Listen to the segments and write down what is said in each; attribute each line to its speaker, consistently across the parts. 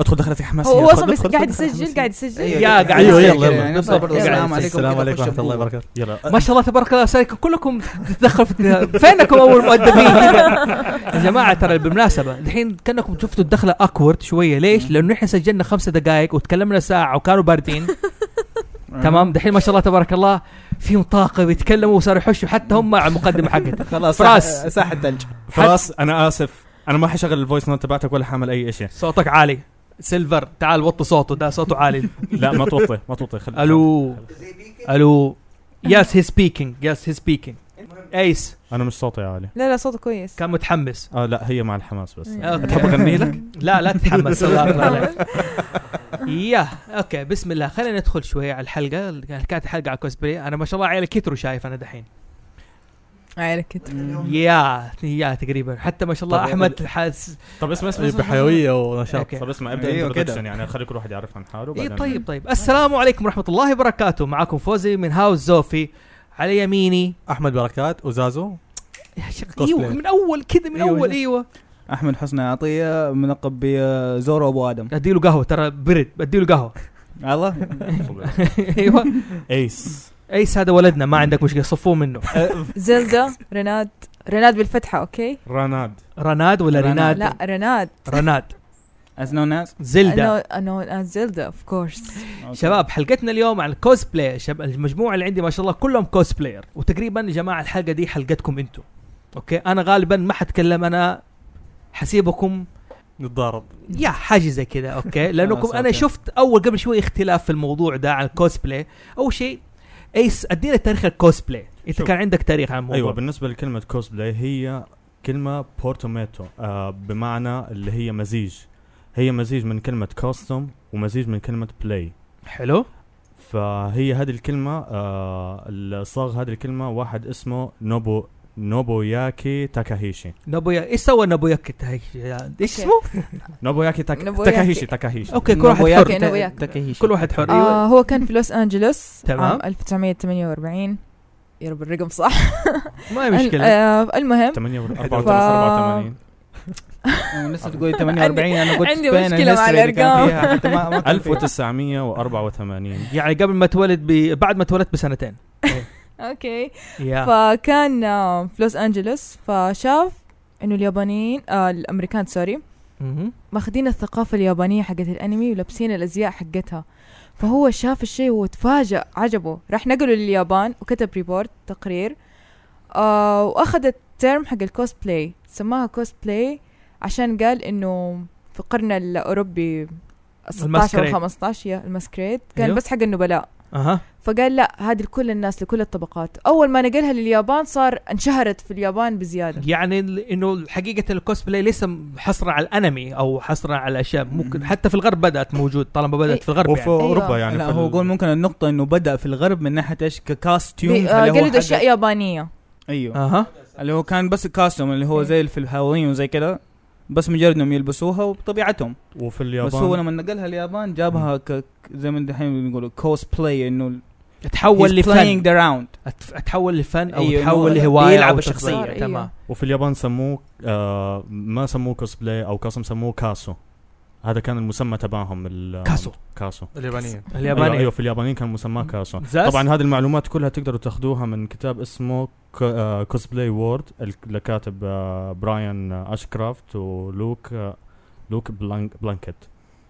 Speaker 1: ادخل دخلت يا حماس
Speaker 2: هو
Speaker 1: يلا،
Speaker 2: اصلا
Speaker 1: ادخل،
Speaker 2: بس
Speaker 1: ادخل،
Speaker 2: قاعد
Speaker 1: ادخل،
Speaker 2: يسجل
Speaker 1: حماس.
Speaker 2: قاعد يسجل
Speaker 3: أيوة.
Speaker 1: يا
Speaker 3: قاعد
Speaker 1: قاعد
Speaker 3: يسجل،
Speaker 1: يلا
Speaker 3: يعني
Speaker 1: يلا
Speaker 3: نفس البرنامج.
Speaker 1: السلام
Speaker 3: السلام
Speaker 1: عليكم
Speaker 3: عليكم وكذا
Speaker 1: السلام عليكم
Speaker 3: خش
Speaker 1: ورحمه الله
Speaker 3: أبوي.
Speaker 1: وبركاته يلا
Speaker 4: ما شاء الله تبارك الله سايكم كلكم تتدخل في فينكم اول مؤدبين يا جماعه ترى بالمناسبه الحين كانكم شفتوا الدخله اكورد شويه ليش؟ لانه احنا سجلنا خمسة دقائق وتكلمنا ساعه وكانوا باردين تمام دحين ما شاء الله تبارك الله فيهم طاقه بيتكلموا وصاروا يحشوا حتى هم مع المقدمه حقتها
Speaker 3: خلاص
Speaker 4: فراس.
Speaker 3: ساحة- ساحة ثلج
Speaker 1: فراس انا اسف انا ما حشغل الفويس نوت تبعتك ولا حامل اي شيء
Speaker 4: صوتك عالي سيلفر تعال وطي صوته ده صوته عالي
Speaker 1: لا ما توطي ما توطي خلي
Speaker 4: الو الو يس هي سبيكينج يس هي سبيكينج ايس
Speaker 1: انا مش صوتي عالي
Speaker 2: لا لا صوته كويس
Speaker 4: كان متحمس
Speaker 1: اه لا هي مع الحماس بس
Speaker 4: أوكي.
Speaker 1: تحب اغني لك؟
Speaker 4: لا لا تتحمس الله يرضى عليك ياه اوكي بسم الله خلينا ندخل شوي على الحلقه اللي كانت حلقه على كوسبري انا ما شاء الله عيالي كتروا شايف انا دحين
Speaker 2: عيالك كده
Speaker 4: يا يا تقريبا حتى ما شاء الله
Speaker 3: طب
Speaker 4: احمد حاس
Speaker 1: طب اسمع اسمع
Speaker 5: إيه،
Speaker 1: اسمع.
Speaker 5: بحيويه ونشاط
Speaker 4: اوكي
Speaker 1: طب اسمع ابدا
Speaker 3: أيوة كده.
Speaker 1: introduction يعني خلي كل واحد يعرف عن حاله
Speaker 4: اي
Speaker 1: بعدين-
Speaker 4: طيب طيب السلام عليكم ورحمه الله وبركاته معكم فوزي من هاوس زوفي على يميني
Speaker 5: احمد بركات وزازو
Speaker 4: يا شيخ
Speaker 5: Cosplay.
Speaker 4: ايوه من اول كذا من
Speaker 3: أيوة.
Speaker 4: اول ايوه
Speaker 3: احمد حسني عطيه منقب بزورو ابو ادم
Speaker 4: اديله قهوه ترى برد اديله قهوه
Speaker 3: الله
Speaker 4: ايوه
Speaker 1: ايس
Speaker 4: ايس هذا ولدنا ما عندك مشكله صفوه منه
Speaker 2: زلزة رناد رناد بالفتحة اوكي
Speaker 1: رناد
Speaker 4: رناد ولا
Speaker 3: رناد.
Speaker 4: رناد
Speaker 2: لا رناد
Speaker 4: رناد
Speaker 3: از نو ناس
Speaker 4: زلدا
Speaker 2: انا زلدة اوف كورس
Speaker 4: شباب حلقتنا اليوم عن الكوسبلاي شب... المجموعه اللي عندي ما شاء الله كلهم كوسبلاير وتقريبا يا جماعه الحلقه دي حلقتكم انتم اوكي انا غالبا ما حتكلم انا حسيبكم
Speaker 5: نتضارب
Speaker 4: يا حاجه زي كذا اوكي لانكم
Speaker 3: خلاص،
Speaker 4: انا
Speaker 3: أوكي.
Speaker 4: شفت اول قبل شوي اختلاف في الموضوع ده عن الكوسبلاي اول شيء ايس ادينا تاريخ الكوسبلاي انت
Speaker 1: شوف.
Speaker 4: كان عندك تاريخ عن الموضوع
Speaker 1: ايوه
Speaker 3: أيوة،
Speaker 1: بالنسبه لكلمه كوسبلاي هي كلمه بورتوميتو آه بمعنى اللي هي مزيج هي مزيج من كلمه كوستوم ومزيج من كلمه بلاي
Speaker 4: حلو
Speaker 1: فهي هذه الكلمه آه اللي صاغ هذه الكلمه واحد اسمه نوبو نوبوياكي تاكاهيشي
Speaker 4: نوبويا ايش سوى نوبويا كتا- ايش اسمه
Speaker 1: نوبوياكي تاك...
Speaker 2: نوبوياكي.
Speaker 1: تاكاهيشي تاكاهيشي
Speaker 4: اوكي كل واحد حر
Speaker 2: أنا وياك.
Speaker 3: تكهيشي
Speaker 4: كل واحد حر ايوه
Speaker 2: آه هو كان في لوس انجلوس
Speaker 4: تمام.
Speaker 2: عام 1948 يا رب الرقم صح
Speaker 4: ما هي مشكله
Speaker 2: آه المهم
Speaker 1: 8 و
Speaker 3: أيوة.
Speaker 1: 84
Speaker 2: ف-
Speaker 1: 84
Speaker 3: لسه تقول 48 انا قلت
Speaker 2: عندي
Speaker 3: فين
Speaker 2: مشكلة مع
Speaker 3: الhistory اللي كان
Speaker 2: الأرقام.
Speaker 3: فيها؟ حتى ما- ما كان فيها.
Speaker 1: 1984
Speaker 4: يعني قبل ما اتولد ب... بعد ما اتولدت بسنتين
Speaker 2: اوكي
Speaker 4: يا
Speaker 2: فكان آه، في لوس انجلوس فشاف انه اليابانيين آه الامريكان سوري
Speaker 4: مهم.
Speaker 2: ماخذين الثقافة اليابانية حقت الأنمي ولابسين الأزياء حقتها فهو شاف الشيء وتفاجأ عجبه راح نقله لليابان وكتب ريبورت تقرير آه وأخذ الترم حق الكوسبلاي سماها كوسبلاي عشان قال إنه في قرن الأوروبي
Speaker 4: الماسكريد.
Speaker 2: 16 والخمستاشر يا الماسكريد كان
Speaker 4: أيوه.
Speaker 2: بس حق النبلاء
Speaker 4: اها
Speaker 2: فقال لا هذه لكل الناس لكل الطبقات أول ما نقلها لليابان صار انشهرت في اليابان بزيادة
Speaker 4: يعني ال- انه حقيقه الكوسبلاي ليس حصرا على الانمي او حصرا على الاشياء ممكن حتى في الغرب بدات موجود طالما بدات في الغرب
Speaker 1: وفي
Speaker 2: أيوة.
Speaker 4: يعني
Speaker 1: اوروبا يعني
Speaker 3: لا
Speaker 1: في
Speaker 3: هو
Speaker 1: ال-
Speaker 3: يقول ممكن النقطة انه بدأ في الغرب من ناحية ايش ككاستيوم
Speaker 2: بي- آه، قلدوا أشياء آه. يابانية
Speaker 3: ايوه
Speaker 4: اها
Speaker 3: اللي هو كان بس كاستيوم اللي
Speaker 2: إيه.
Speaker 3: هو زي في الهالوين وزي كذا بس مجرد انهم يلبسوها وبطبيعتهم
Speaker 1: وفي
Speaker 3: بس هو
Speaker 1: اليابان
Speaker 3: لما نقلها اليابان جابها ك زي ما دحين بنقولوا كوس بلاي انه
Speaker 4: تحول لفن
Speaker 3: بلاينج ذا راوند
Speaker 4: أتف- اتحول لفن او
Speaker 3: أيوه،
Speaker 4: تحول
Speaker 3: إنه
Speaker 4: لهوايه
Speaker 3: بيلعب
Speaker 4: أو
Speaker 3: بشخصية. أيوة.
Speaker 2: صار،
Speaker 4: تطبيع.
Speaker 2: أيوه.
Speaker 4: تمام
Speaker 1: وفي اليابان سموه آه ما سموه كوسبلاي او قسم سموه كاسو هذا كان المسمى تبعهم ال-
Speaker 4: كاسو.
Speaker 1: كاسو
Speaker 5: اليابانيين
Speaker 1: الياباني
Speaker 4: الياباني
Speaker 1: ايوه, أيوة في اليابانيين كان مسماه كاسو
Speaker 4: زاس؟
Speaker 1: طبعا هذه المعلومات كلها تقدروا تاخذوها من كتاب اسمه آه، كوسبلاي وورد اللي كاتب آه، براين آه، اشكرافت ولوك آه، لوك بلانك بلانكت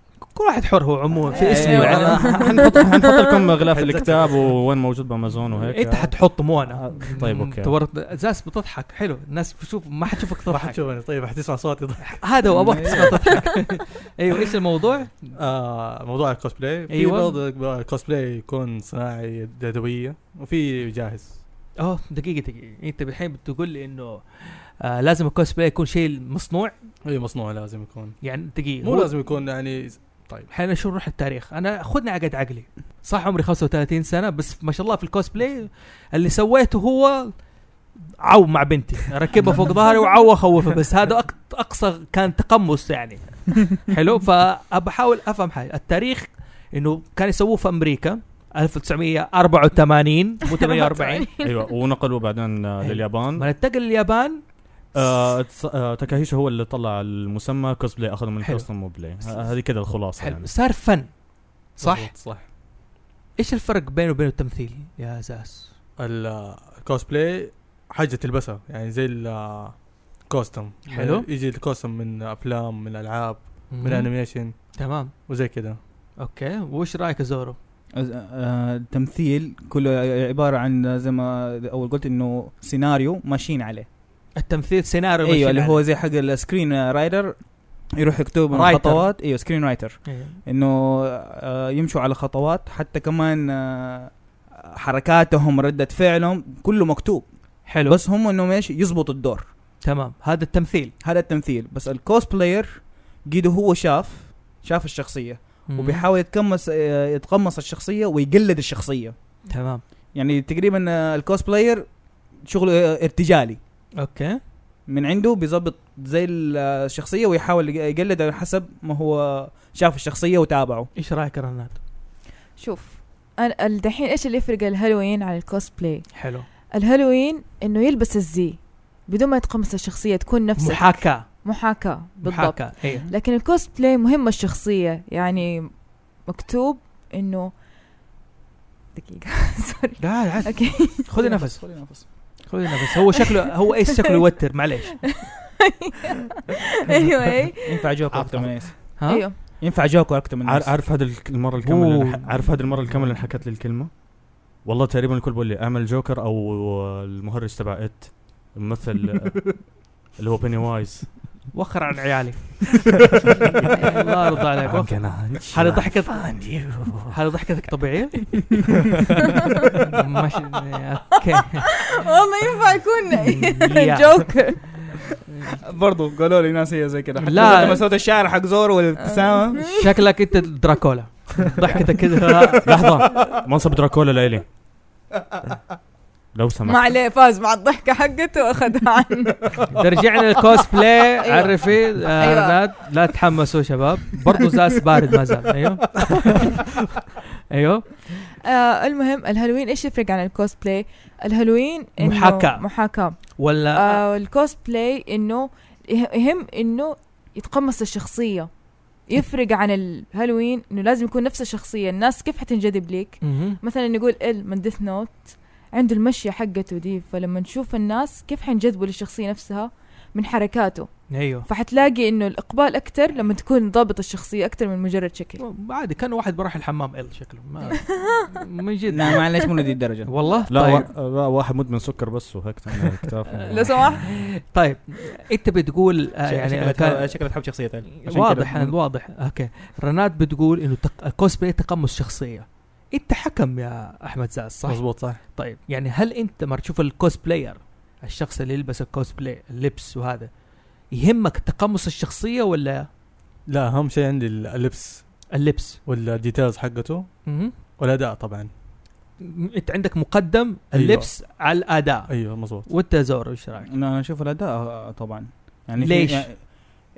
Speaker 4: كل واحد حر هو عموما في
Speaker 3: أيوه.
Speaker 4: اسمه يعني
Speaker 1: حنحط حنحط لكم غلاف الكتاب وين موجود بامازون وهيك
Speaker 4: انت حتحطه إيه، مو انا
Speaker 1: آه، طيب اوكي
Speaker 4: تورط زاس بتضحك حلو الناس بتشوف ما حتشوفك تضحك
Speaker 5: حتشوفني طيب حتسمع صوتي
Speaker 4: هذا هو ابغاك تسمع تضحك ايوه ايش الموضوع؟
Speaker 5: آه موضوع الكوسبلاي في
Speaker 4: أيوة.
Speaker 5: برضه كوسبلاي يكون صناعي يدويه وفي جاهز
Speaker 4: اوه دقيقة دقيقة انت الحين بتقول لي انه آه لازم الكوسبلاي يكون شيء إيه، مصنوع
Speaker 5: اي مصنوع لازم يكون
Speaker 4: يعني دقيقة
Speaker 5: مو
Speaker 4: هو-
Speaker 5: لازم يكون يعني
Speaker 4: احنا شو نروح التاريخ انا خذنا عقد عقلي صح عمري 35 سنه بس ما شاء الله في الكوسبلاي اللي سويته هو عو مع بنتي اركبها فوق ظهري وعو اخوفها بس هذا أق- اقصى كان تقمص يعني حلو فبحاول افهم حاجه التاريخ انه كان يسووه في امريكا 1984 مو 48
Speaker 1: ايوه ونقلوا أيوة، بعدين آه، لليابان
Speaker 4: ما نتقل اليابان
Speaker 1: آه تس- آه تاكاهيشي هو اللي طلع المسمى كوسبلاي اخذه من
Speaker 4: حلو.
Speaker 1: كوستم موبلاي هذه كده الخلاصه
Speaker 4: حلو
Speaker 1: يعني
Speaker 4: صار فن صح
Speaker 5: مظبوط، صح
Speaker 4: ايش الفرق بينه وبين التمثيل يا اساس
Speaker 5: الكوسبلاي حاجه تلبسها يعني زي الكوستم
Speaker 4: حلو.
Speaker 5: يجي الكوستم من افلام من العاب من انيميشن
Speaker 4: تمام
Speaker 5: وزي كده
Speaker 4: اوكي وش رايك يا زورو
Speaker 3: آه، التمثيل كله عباره عن زي ما اول قلت انه سيناريو ماشيين عليه
Speaker 4: التمثيل سيناريو
Speaker 3: ايوه
Speaker 4: ماشي
Speaker 3: اللي
Speaker 4: عليه.
Speaker 3: هو زي حق السكرين رايدر يروح يكتب
Speaker 4: رايتر.
Speaker 3: خطوات ايوه سكرين رايتر
Speaker 4: أيوة.
Speaker 3: انه آه، يمشوا على خطوات حتى كمان آه، حركاتهم ردة فعلهم كله مكتوب
Speaker 4: حلو بس
Speaker 3: بس هم انهم ايش يظبطوا الدور
Speaker 4: تمام هذا التمثيل
Speaker 3: هذا التمثيل بس الكوست بلاير قيده هو شاف شاف الشخصية وبيحاول يتقمص آه، يتقمص الشخصية ويقلد الشخصية
Speaker 4: تمام
Speaker 3: يعني تقريبا آه، الكوست بلاير شغله آه، ارتجالي
Speaker 4: اوكي
Speaker 3: من عنده بيظبط زي الشخصية ويحاول يقلد على حسب ما هو شاف الشخصية وتابعه
Speaker 4: ايش رايك يا رناد
Speaker 2: شوف انا الدحين ايش اللي يفرق الهالوين عن الكوسبلاي
Speaker 4: حلو
Speaker 2: الهالوين انه يلبس الزي بدون ما يتقمص الشخصيه تكون نفسه
Speaker 4: محاكاه
Speaker 2: محاكاه بالضبط
Speaker 4: محاكاه
Speaker 3: إيه.
Speaker 4: ايوه
Speaker 2: لكن الكوسبلاي مهمه الشخصيه يعني مكتوب انه دقيقه سوري
Speaker 4: لا عاد
Speaker 2: اوكي
Speaker 4: خذي نفس خذي نفس هو شكله هو ايش شكله يوتر معليش
Speaker 2: anyway
Speaker 3: ينفع جوكر اكتر من ايس
Speaker 4: ها
Speaker 2: ايوه
Speaker 3: ينفع جوكر اكتر من
Speaker 1: عار-
Speaker 3: ايس
Speaker 1: عارف هذا الك- المره الكامله اللي
Speaker 4: أوه.
Speaker 1: ح- عارف هذه المره الكامله اللي حكت لي الكلمه والله تقريبا الكل بيقول لي اعمل جوكر او المهرج تبع ات الممثل اللي هو بيني وايز
Speaker 4: وخر عن عيالي الله يرضى عليك وخر. هذا ضحكتك هذا ضحكتك طبيعية؟ ماشي اوكي
Speaker 2: والله ينفع
Speaker 4: يا.
Speaker 2: يكون جوكر
Speaker 3: برضو قالوا لي ناس هي زي كده
Speaker 4: حتى لا. لما
Speaker 3: صوت الشعر حق زورو والابتسامه
Speaker 4: شكلك انت دراكولا ضحكتك كذا
Speaker 1: لحظه منصب دراكولا لإلي لو
Speaker 2: ما
Speaker 1: سمحت
Speaker 2: عليه فاز مع الضحكه حقته واخذها عنه
Speaker 4: رجعنا للكوسبلاي عرفي آه،
Speaker 2: أيوة.
Speaker 4: لا لا تحمسوا شباب برضو زاس بارد ما زال ايوه ايوه
Speaker 2: آه المهم الهالوين ايش يفرق عن الكوسبلاي الهالوين إنه
Speaker 4: محاكاة.
Speaker 2: محاكاه
Speaker 4: ولا
Speaker 2: آه الكوسبلاي انه يه- يهم انه يتقمص الشخصيه يفرق عن الهالوين انه لازم يكون نفس الشخصيه الناس كيف حتنجذب ليك
Speaker 4: مهم.
Speaker 2: مثلا نقول ال من ديث نوت عنده المشية حقته دي فلما نشوف الناس كيف حينجذبوا للشخصية نفسها من حركاته
Speaker 4: ايوه
Speaker 2: فحتلاقي انه الاقبال اكتر لما تكون ضابط الشخصية اكتر من مجرد شكل
Speaker 4: عادي كان واحد بروح الحمام ال شكله ما من جد
Speaker 3: لا معلش مو لدي الدرجه
Speaker 4: والله
Speaker 1: لا
Speaker 4: طيب
Speaker 1: وا- لا، واحد مدمن سكر بس وهيك تعمل
Speaker 2: لو
Speaker 1: كتاف
Speaker 2: سمحت
Speaker 4: طيب انت بتقول آه،
Speaker 3: يعني
Speaker 4: يعني كان-
Speaker 3: شكلها تحب طيب. شخصيتها
Speaker 4: واضح يعني واضح اوكي رناد بتقول انه تق... الكوسبلاي تقمص شخصيه انت حكم يا احمد زاز صح
Speaker 5: مظبوط صح
Speaker 4: طيب يعني هل انت ما تشوف الكوسبلاير الشخص اللي يلبس الكوسبلاي اللبس وهذا يهمك تقمص الشخصيه ولا
Speaker 5: لا اهم شيء عندي اللبس
Speaker 4: اللبس
Speaker 5: والديتيلز حقته
Speaker 4: مهم.
Speaker 5: والاداء طبعا
Speaker 4: م- انت عندك مقدم
Speaker 5: أيوة.
Speaker 4: اللبس على الاداء
Speaker 5: ايوه مظبوط
Speaker 4: وانت يا زور ايش رايك
Speaker 3: انا أنا اشوف الاداء آه، طبعا يعني في-
Speaker 4: ليش؟
Speaker 3: يعني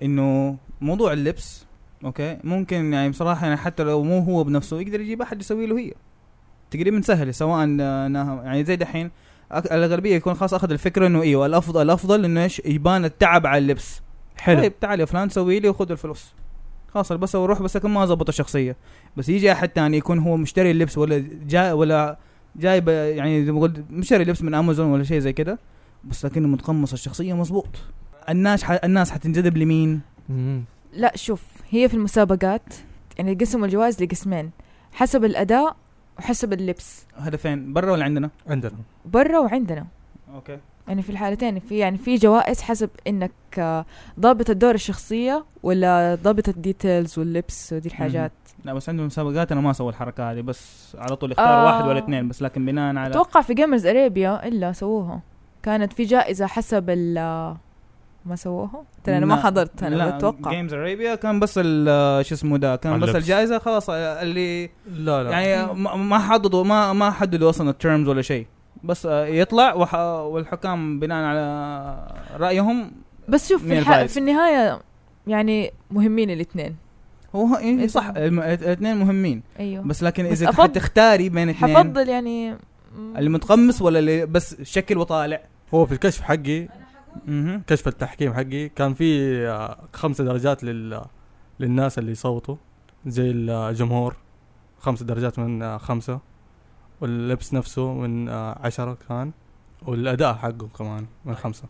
Speaker 3: انه موضوع اللبس اوكي ممكن يعني بصراحه يعني حتى لو مو هو بنفسه يقدر يجيب احد يسوي له هي تقريبا سهل سواء آه، إنها- يعني زي دحين أك- الاغلبيه يكون خلاص اخذ الفكره انه ايوه الافضل الافضل انه ايش يبان التعب على اللبس
Speaker 4: حلو.
Speaker 3: طيب تعال يا فلان سوي لي وخذ الفلوس خلاص البسه وروح بس لكن ما ظبط الشخصيه بس يجي احد ثاني يكون هو مشتري اللبس ولا جاي ولا جايب يعني زي ما قلت مشتري لبس من امازون ولا شيء زي كده بس لكنه متقمص الشخصيه مظبوط الناس ح... الناس حتنجذب لمين
Speaker 4: مم.
Speaker 2: لا شوف هي في المسابقات يعني قسموا الجوائز لقسمين حسب الاداء وحسب اللبس
Speaker 3: هذا فين برا ولا عندنا
Speaker 5: عندنا
Speaker 2: برا وعندنا
Speaker 3: اوكي
Speaker 2: يعني في الحالتين في يعني في جوائز حسب انك آه، ضابط الدور الشخصيه ولا ضابط الديتيلز واللبس ودي الحاجات
Speaker 3: لا بس عندنا مسابقات انا ما اسوي الحركه هذه بس على طول اختار
Speaker 2: آه.
Speaker 3: آه. واحد ولا اثنين بس لكن بناء على
Speaker 2: اتوقع في جيمرز اريبيا الا سووها كانت في جائزه حسب ال آه، ما سووها ترى انا ما
Speaker 3: لا.
Speaker 2: حضرت انا اتوقع
Speaker 3: جيمز اريبيا كان بس ال- شو اسمه ده كان بس
Speaker 1: اللبس.
Speaker 3: الجائزه خلاص آه، اللي
Speaker 5: لا لا
Speaker 3: يعني ما- ما حددوا ما ما حددوا اصلا التيرمز ولا شيء بس آه، يطلع وح... والحكام بناء على رايهم
Speaker 2: بس شوف
Speaker 3: مين
Speaker 2: في, الح...
Speaker 3: الفايز؟
Speaker 2: في النهايه يعني مهمين الاثنين
Speaker 3: هو يعني صح الم- الاثنين مهمين
Speaker 2: ايوه بس
Speaker 3: بس لكن
Speaker 2: إيه، بس
Speaker 3: اذا
Speaker 2: أفضل-
Speaker 3: حتختاري بين اثنين
Speaker 2: حفضل يعني مم،
Speaker 3: المتقمص ولا اللي بس شكل وطالع
Speaker 5: هو في الكشف حقي
Speaker 3: مهم.
Speaker 5: كشف التحكيم حقي كان في آه، خمسة درجات لل للناس اللي يصوتوا زي الجمهور خمس درجات من آه، خمسة واللبس نفسه من آه، عشرة كان والأداء حقه كمان من خمسة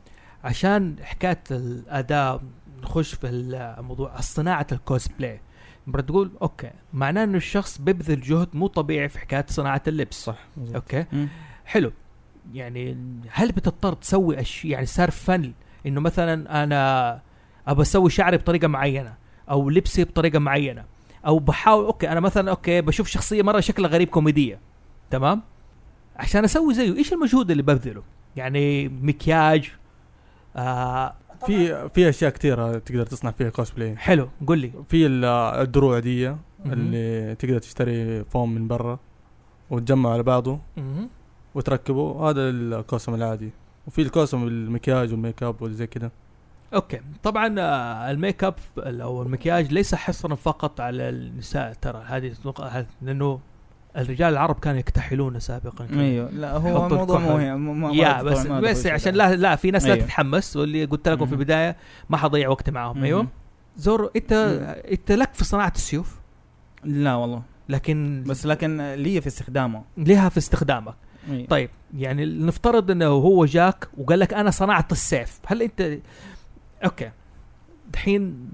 Speaker 4: عشان حكايه الاداء نخش في الموضوع صناعه الكوسبلاي بتقول اوكي معناه انه الشخص بيبذل جهد مو طبيعي في حكايه صناعه اللبس صح اوكي
Speaker 3: مم.
Speaker 4: حلو يعني هل بتضطر تسوي اشياء يعني صار فن انه مثلا انا ابى اسوي شعري بطريقه معينه او لبسي بطريقه معينه او بحاول اوكي انا مثلا اوكي بشوف شخصيه مره شكلها غريب كوميديه تمام عشان اسوي زيه ايش المجهود اللي ببذله يعني مكياج آه
Speaker 5: في في أشياء كثيرة تقدر تصنع فيها كوسبلاي
Speaker 4: حلو قل لي
Speaker 5: في ال- آه، الدروع دي
Speaker 4: مهم.
Speaker 5: اللي تقدر تشتري فوم من برا وتجمع على بعضه
Speaker 4: مهم.
Speaker 5: وتركبه هذا الكوسم العادي وفي الكوسم بالمكياج والميك اب والزي كده
Speaker 4: اوكي طبعا آه، الميك اب او المكياج ليس حصرا فقط على النساء ترى هذه تتوقع- هذ- لانه الرجال العرب كانوا يكتحلون سابقا كانوا
Speaker 3: ايوه لا هو
Speaker 4: يحط
Speaker 3: الموضوع
Speaker 4: الكحل.
Speaker 3: مو هي مو- مو-
Speaker 4: يا
Speaker 3: ما-
Speaker 4: بس
Speaker 3: ما- ما-
Speaker 4: بس
Speaker 3: ما-
Speaker 4: عشان لا لا في ناس لا
Speaker 3: أيوه.
Speaker 4: تتحمس واللي قلت لكم في
Speaker 3: مم.
Speaker 4: البدايه ما حضيع وقت معاهم
Speaker 3: مم.
Speaker 4: ايوه زور انت
Speaker 3: مم.
Speaker 4: انت لك في صناعه السيوف
Speaker 3: لا والله
Speaker 4: لكن بس
Speaker 3: بس لكن لي في استخدامه
Speaker 4: لها في استخدامك
Speaker 3: أيوه.
Speaker 4: طيب يعني نفترض انه هو جاك وقال لك انا صنعت السيف هل انت اوكي دحين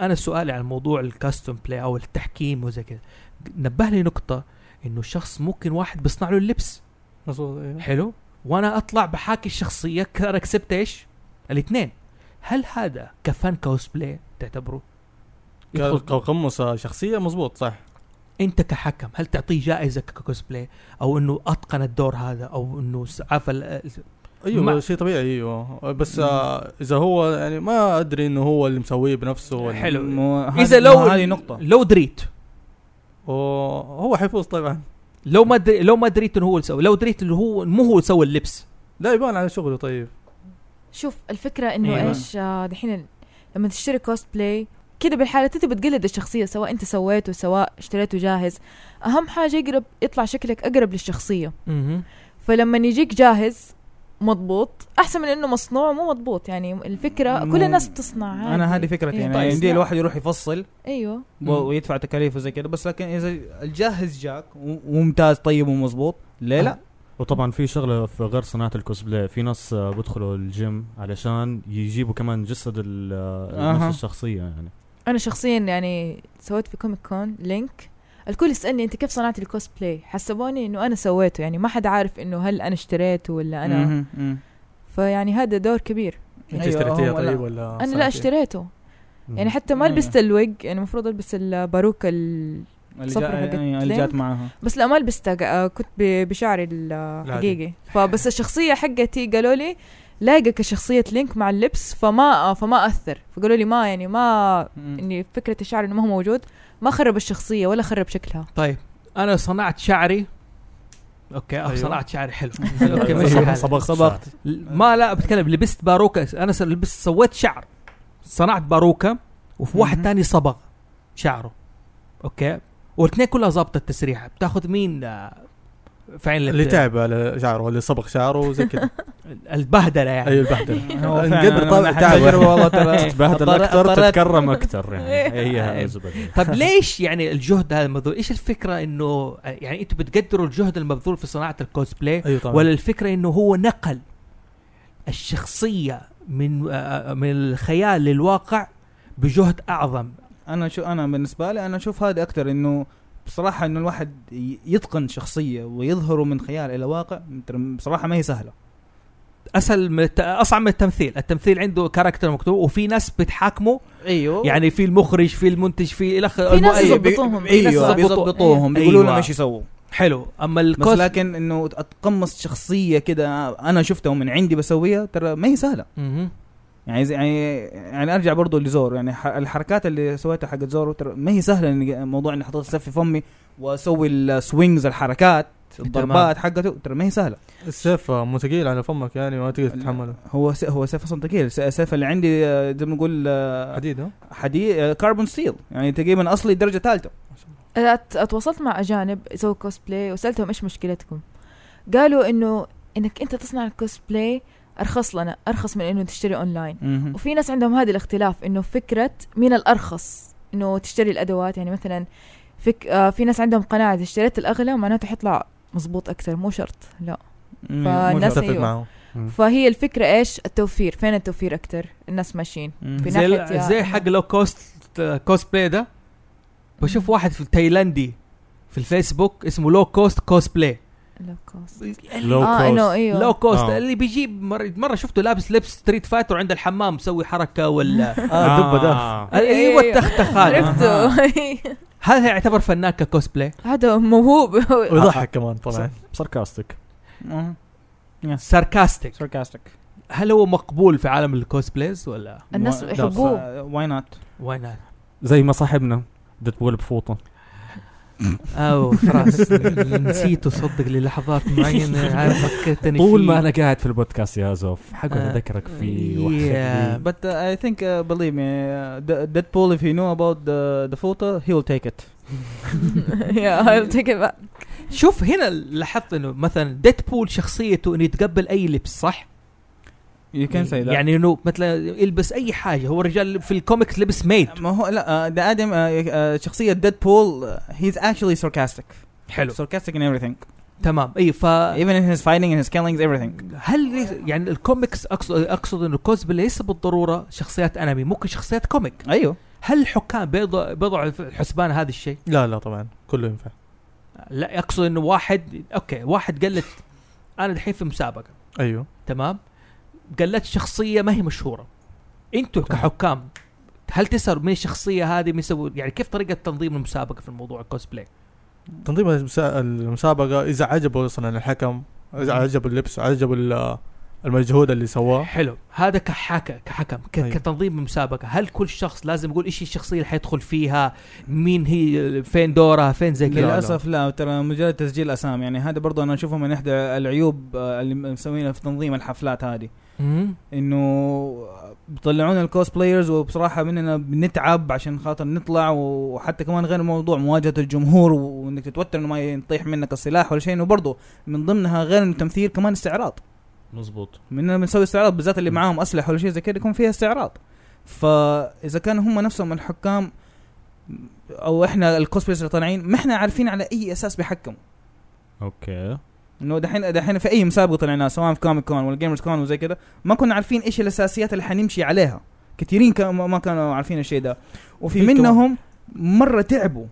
Speaker 4: انا سؤالي عن موضوع الكاستم بلاي او التحكيم وزي كذا نبه لي نقطه انه الشخص ممكن واحد بيصنع له اللبس
Speaker 5: مظبوط ايوه
Speaker 4: حلو وانا اطلع بحاكي الشخصيه كار اكسبت ايش الاثنين هل هذا كفن كوسبلاي تعتبره يدخل-
Speaker 5: كقمص شخصية مظبوط صح
Speaker 4: انت كحكم هل تعطيه جائزه ككوسبلاي او انه اتقن الدور هذا او انه س- عارف ال-
Speaker 5: ايوه
Speaker 4: مع-
Speaker 5: ما. شيء طبيعي ايوه بس آه اذا هو يعني ما ادري انه هو اللي مسويه بنفسه ولا-
Speaker 4: حلو.
Speaker 3: مو- هذه-
Speaker 4: اذا لو
Speaker 3: مو هذه نقطه
Speaker 4: لو دريت
Speaker 5: و- هو حيفوز طبعا
Speaker 4: لو ما دري لو ما دريت انه هو اللي سوى لو دريت انه هو مو هو اللي سوى اللبس
Speaker 5: لا يبان على شغله طيب
Speaker 2: شوف الفكره انه
Speaker 3: أيوة.
Speaker 2: ايش آه، دحين ال- لما تشتري كوسبلاي كده بالحالات انت بتقلد الشخصيه سواء انت سويته سواء اشتريته جاهز اهم حاجه يقرب يطلع شكلك اقرب للشخصيه فلما يجيك جاهز مضبوط احسن من انه مصنوع مو مضبوط يعني الفكره
Speaker 3: مو-
Speaker 2: كل الناس بتصنع عادي.
Speaker 3: انا هذه فكرتي
Speaker 2: إيه،
Speaker 3: يعني
Speaker 2: طيب.
Speaker 3: يعني دي الواحد يروح يفصل
Speaker 2: ايوه
Speaker 3: و- ويدفع تكاليف وزي كده بس لكن اذا الجاهز جاك و- وممتاز طيب ومظبوط ليه لا؟
Speaker 1: وطبعا في شغله في غير صناعه الكوسبلاي في ناس آه، بيدخلوا الجيم علشان يجيبوا كمان جسد ال-
Speaker 3: أها.
Speaker 1: آه، نفس الشخصيه يعني
Speaker 2: انا شخصيا يعني سويت في كوميك كون لينك الكل يسالني انت كيف صنعت الكوسبلاي حسبوني انه انا سويته يعني ما حد عارف انه هل انا اشتريته ولا انا
Speaker 3: مهم، مم.
Speaker 2: فيعني هذا دور كبير
Speaker 5: انت
Speaker 3: أيوة،
Speaker 5: اشتريتيها
Speaker 3: هو لا.
Speaker 5: طيب ولا
Speaker 2: انا
Speaker 5: صنعتيها؟
Speaker 2: لا اشتريته يعني حتى ما
Speaker 3: أيوة.
Speaker 2: لبست الوج يعني المفروض البس الباروكه ال...
Speaker 3: اللي
Speaker 2: صفر
Speaker 3: جا-
Speaker 2: حقت
Speaker 3: يعني اللي جات
Speaker 2: لينك.
Speaker 3: معاها
Speaker 2: بس لا ما لبستها ق- كنت ب- بشعري الحقيقي فبس الشخصيه حقتي قالوا لي لايقه كشخصيه لينك مع اللبس فما آه، فما اثر فقالوا لي ما يعني ما
Speaker 3: مم.
Speaker 2: اني فكره الشعر انه ما هو موجود ما خرب الشخصيه ولا خرب شكلها
Speaker 4: طيب انا صنعت شعري اوكي أيوه.
Speaker 5: أيوه.
Speaker 4: صنعت شعري حلو
Speaker 3: أوكي،
Speaker 4: طيب. اوكي ماشي
Speaker 1: صبغ-
Speaker 4: الحال.
Speaker 1: صبغت
Speaker 3: صبغت.
Speaker 1: شعر.
Speaker 4: ما لا بتكلم لبست باروكه انا س- لبست سويت شعر صنعت باروكه وفي واحد
Speaker 3: مهم.
Speaker 4: تاني صبغ شعره اوكي والاثنين كلها ظابطه التسريحه بتاخذ مين آه، في عين
Speaker 5: اللي
Speaker 4: الاعتبار؟
Speaker 5: تعب على شعره اللي صبغ شعره وزي أيوة، كده
Speaker 4: البهدله يعني
Speaker 3: أيوه،
Speaker 5: اي البهدله
Speaker 3: هو فعلاً
Speaker 5: نقدر
Speaker 3: أنا-
Speaker 5: طبعاً
Speaker 3: أنا
Speaker 5: تعب.
Speaker 3: تجربة والله ترى
Speaker 1: تتبهدل
Speaker 3: اضطر-
Speaker 1: اكثر
Speaker 3: اضطريت-
Speaker 1: تتكرم اكثر
Speaker 3: إيه.
Speaker 1: يعني هي
Speaker 4: أيوة.
Speaker 1: هذا الزبدة.
Speaker 4: طب ليش يعني الجهد هذا المبذول؟ ايش الفكره انه يعني انتم بتقدروا الجهد المبذول في صناعه الكوسبلاي
Speaker 5: ايوه طبعا
Speaker 4: ولا الفكره انه هو نقل الشخصيه من آه، من الخيال للواقع بجهد اعظم
Speaker 3: انا شو انا بالنسبه لي انا اشوف هذا اكثر انه بصراحه انه الواحد ي- يتقن شخصيه ويظهره من خيال الى واقع ترى بصراحه ما هي سهله
Speaker 4: اسهل من الت... اصعب من التمثيل، التمثيل عنده كاركتر مكتوب وفي ناس بتحاكمه
Speaker 3: ايوه
Speaker 4: يعني في المخرج في المنتج في الى
Speaker 2: في ناس
Speaker 4: المؤلف.
Speaker 2: يزبط- يظبطوهم.
Speaker 3: ايوه
Speaker 4: يظبطوا-
Speaker 3: بيظبطوهم بيقولوا لهم
Speaker 4: أيوة.
Speaker 3: ايش يسووا
Speaker 4: حلو اما
Speaker 3: بس
Speaker 4: الكوست
Speaker 3: لكن انه اتقمص شخصيه كده انا شفتها ومن عندي بسويها ترى ما هي سهله
Speaker 4: مهم.
Speaker 3: يعني زي- يعني يعني ارجع برضو لزور يعني ح- الحركات اللي سويتها حقت زور ترى ما هي سهله إني- موضوع اني حطيت السيف في فمي واسوي السوينجز الحركات الضربات حقته ترى ما هي سهله
Speaker 5: السيف آه، مو ثقيل على فمك يعني ما تقدر تتحمله
Speaker 3: هو س- هو سيف اصلا ثقيل س- السيف اللي عندي آه، زي ما نقول آه،
Speaker 5: حديد ها
Speaker 3: حديد آه، كاربون ستيل يعني تقريبا اصلي درجه ثالثه
Speaker 2: أت- اتواصلت مع اجانب يسووا كوسبلاي وسالتهم ايش مشكلتكم قالوا انه انك انت تصنع الكوسبلاي ارخص لنا ارخص من انه تشتري اونلاين
Speaker 3: مهم.
Speaker 2: وفي ناس عندهم هذا الاختلاف انه فكره مين الارخص انه تشتري الادوات يعني مثلا فك آه في ناس عندهم قناعه اذا اشتريت الاغلى معناته حيطلع مزبوط اكثر مو شرط لا
Speaker 3: مم.
Speaker 2: فالناس-
Speaker 3: مجرد.
Speaker 5: متفق
Speaker 2: أيوة.
Speaker 5: معه
Speaker 2: فهي الفكره ايش التوفير فين التوفير اكثر الناس ماشيين
Speaker 3: مم.
Speaker 2: في
Speaker 4: زي
Speaker 2: ناحية-
Speaker 4: ال- زي حق لو كوست كوست بلاي ده بشوف واحد في تايلاندي في الفيسبوك اسمه لو كوست كوست بلاي
Speaker 2: لو كوست
Speaker 1: لو
Speaker 2: اه انه
Speaker 1: كوست
Speaker 2: ايوه
Speaker 4: لو كوست
Speaker 1: آه.
Speaker 4: اللي بيجيب مره مرة شفته لابس لبس ستريت فايتر عند الحمام مسوي حركه ولا
Speaker 1: آه،
Speaker 5: اه
Speaker 3: آه.
Speaker 5: دبه ده
Speaker 2: أيوة، أيوة.
Speaker 4: ايوه التختخ هذا
Speaker 2: عرفته
Speaker 4: هل هي يعتبر فنان ككوست بلاي؟
Speaker 2: هذا موهوب
Speaker 5: ويضحك كمان طبعا
Speaker 1: ساركاستيك
Speaker 3: مهم.
Speaker 4: ساركاستيك
Speaker 3: sarcastic
Speaker 4: هل هو مقبول في عالم الكوست بلايز ولا
Speaker 3: Why-
Speaker 2: الناس يحبوه.
Speaker 3: that's- uh, why not
Speaker 4: واي نوت؟
Speaker 1: زي ما صاحبنا ديدبول بفوطه
Speaker 3: يعني
Speaker 4: او فراس نسيته صدق للحظات معينه عارف فكرتني
Speaker 1: طول ما
Speaker 4: فيه.
Speaker 1: انا قاعد في البودكاست يا زوف حقعد
Speaker 4: آه.
Speaker 1: اذكرك فيه
Speaker 4: Yeah.
Speaker 1: وأخليك-
Speaker 3: but uh, I think uh, believe me uh, D- Deadpool if he knew about the the photo he'll take it
Speaker 2: يا I'll take it back.
Speaker 4: شوف هنا لاحظت انه مثلا ديدبول شخصيته انه يتقبل اي لبس صح؟
Speaker 3: you can say that
Speaker 4: يعني انه مثلا يلبس اي حاجه هو الرجال في الكوميكس لبس ميد
Speaker 3: Uh, ما هو لا ده ادم شخصيه ديدبول uh, he's actually sarcastic
Speaker 4: حلو
Speaker 3: sarcastic in everything
Speaker 4: تمام اي ف
Speaker 3: even in his fighting in his killings everything
Speaker 4: هل ليس- يعني الكوميكس اقصد اقصد انه الكوزبلاي ليس بالضروره شخصيات انمي ممكن شخصيات كوميك
Speaker 3: ايوه
Speaker 4: هل الحكام بيضع بيضعوا في الحسبان هذا الشيء؟
Speaker 5: لا لا طبعا كله ينفع
Speaker 4: لا اقصد انه واحد اوكي واحد قلت انا الحين في مسابقه
Speaker 5: ايوه
Speaker 4: تمام قلت شخصيه ما هي مشهوره انتوا كحكام هل تسأل من الشخصيه هذه من يسوي يعني كيف طريقه تنظيم المسابقه في الموضوع الكوسبلاي
Speaker 5: تنظيم المسا- المسابقه اذا عجبه اصلا الحكم اذا عجبه اللبس عجبه ال- المجهود اللي سواه
Speaker 4: حلو هذا كحكى كحكم ك-
Speaker 5: أيوة.
Speaker 4: كتنظيم المسابقه هل كل شخص لازم يقول ايش الشخصيه اللي حيدخل فيها مين هي فين دورها فين زي كذا
Speaker 3: للاسف لا ترى مجرد تسجيل اسامي يعني هذا برضو انا اشوفه من احدى العيوب آه، اللي مسوينها في تنظيم الحفلات هذه
Speaker 4: مم.
Speaker 3: انه بيطلعون الكوست بلايرز وبصراحه مننا بنتعب عشان خاطر نطلع وحتى كمان غير الموضوع مواجهه الجمهور وانك تتوتر انه ما يطيح منك السلاح ولا شيء انه برضه من ضمنها غير التمثيل كمان استعراض
Speaker 1: مزبوط
Speaker 3: مننا بنسوي استعراض بالذات اللي معاهم اسلحه ولا شيء زي كذا يكون فيها استعراض فاذا كانوا هم نفسهم الحكام او احنا الكوست بلايرز اللي طالعين ما احنا عارفين على اي اساس بيحكموا
Speaker 1: اوكي
Speaker 3: انه دحين دحين في اي مسابقه طلعناها سواء في كوميك كون ولا جيمرز كون وزي كده ما كنا عارفين ايش الاساسيات اللي حنمشي عليها كثيرين كان ما كانوا عارفين الشيء ده وفي
Speaker 5: في كمان-
Speaker 3: منهم مره تعبوا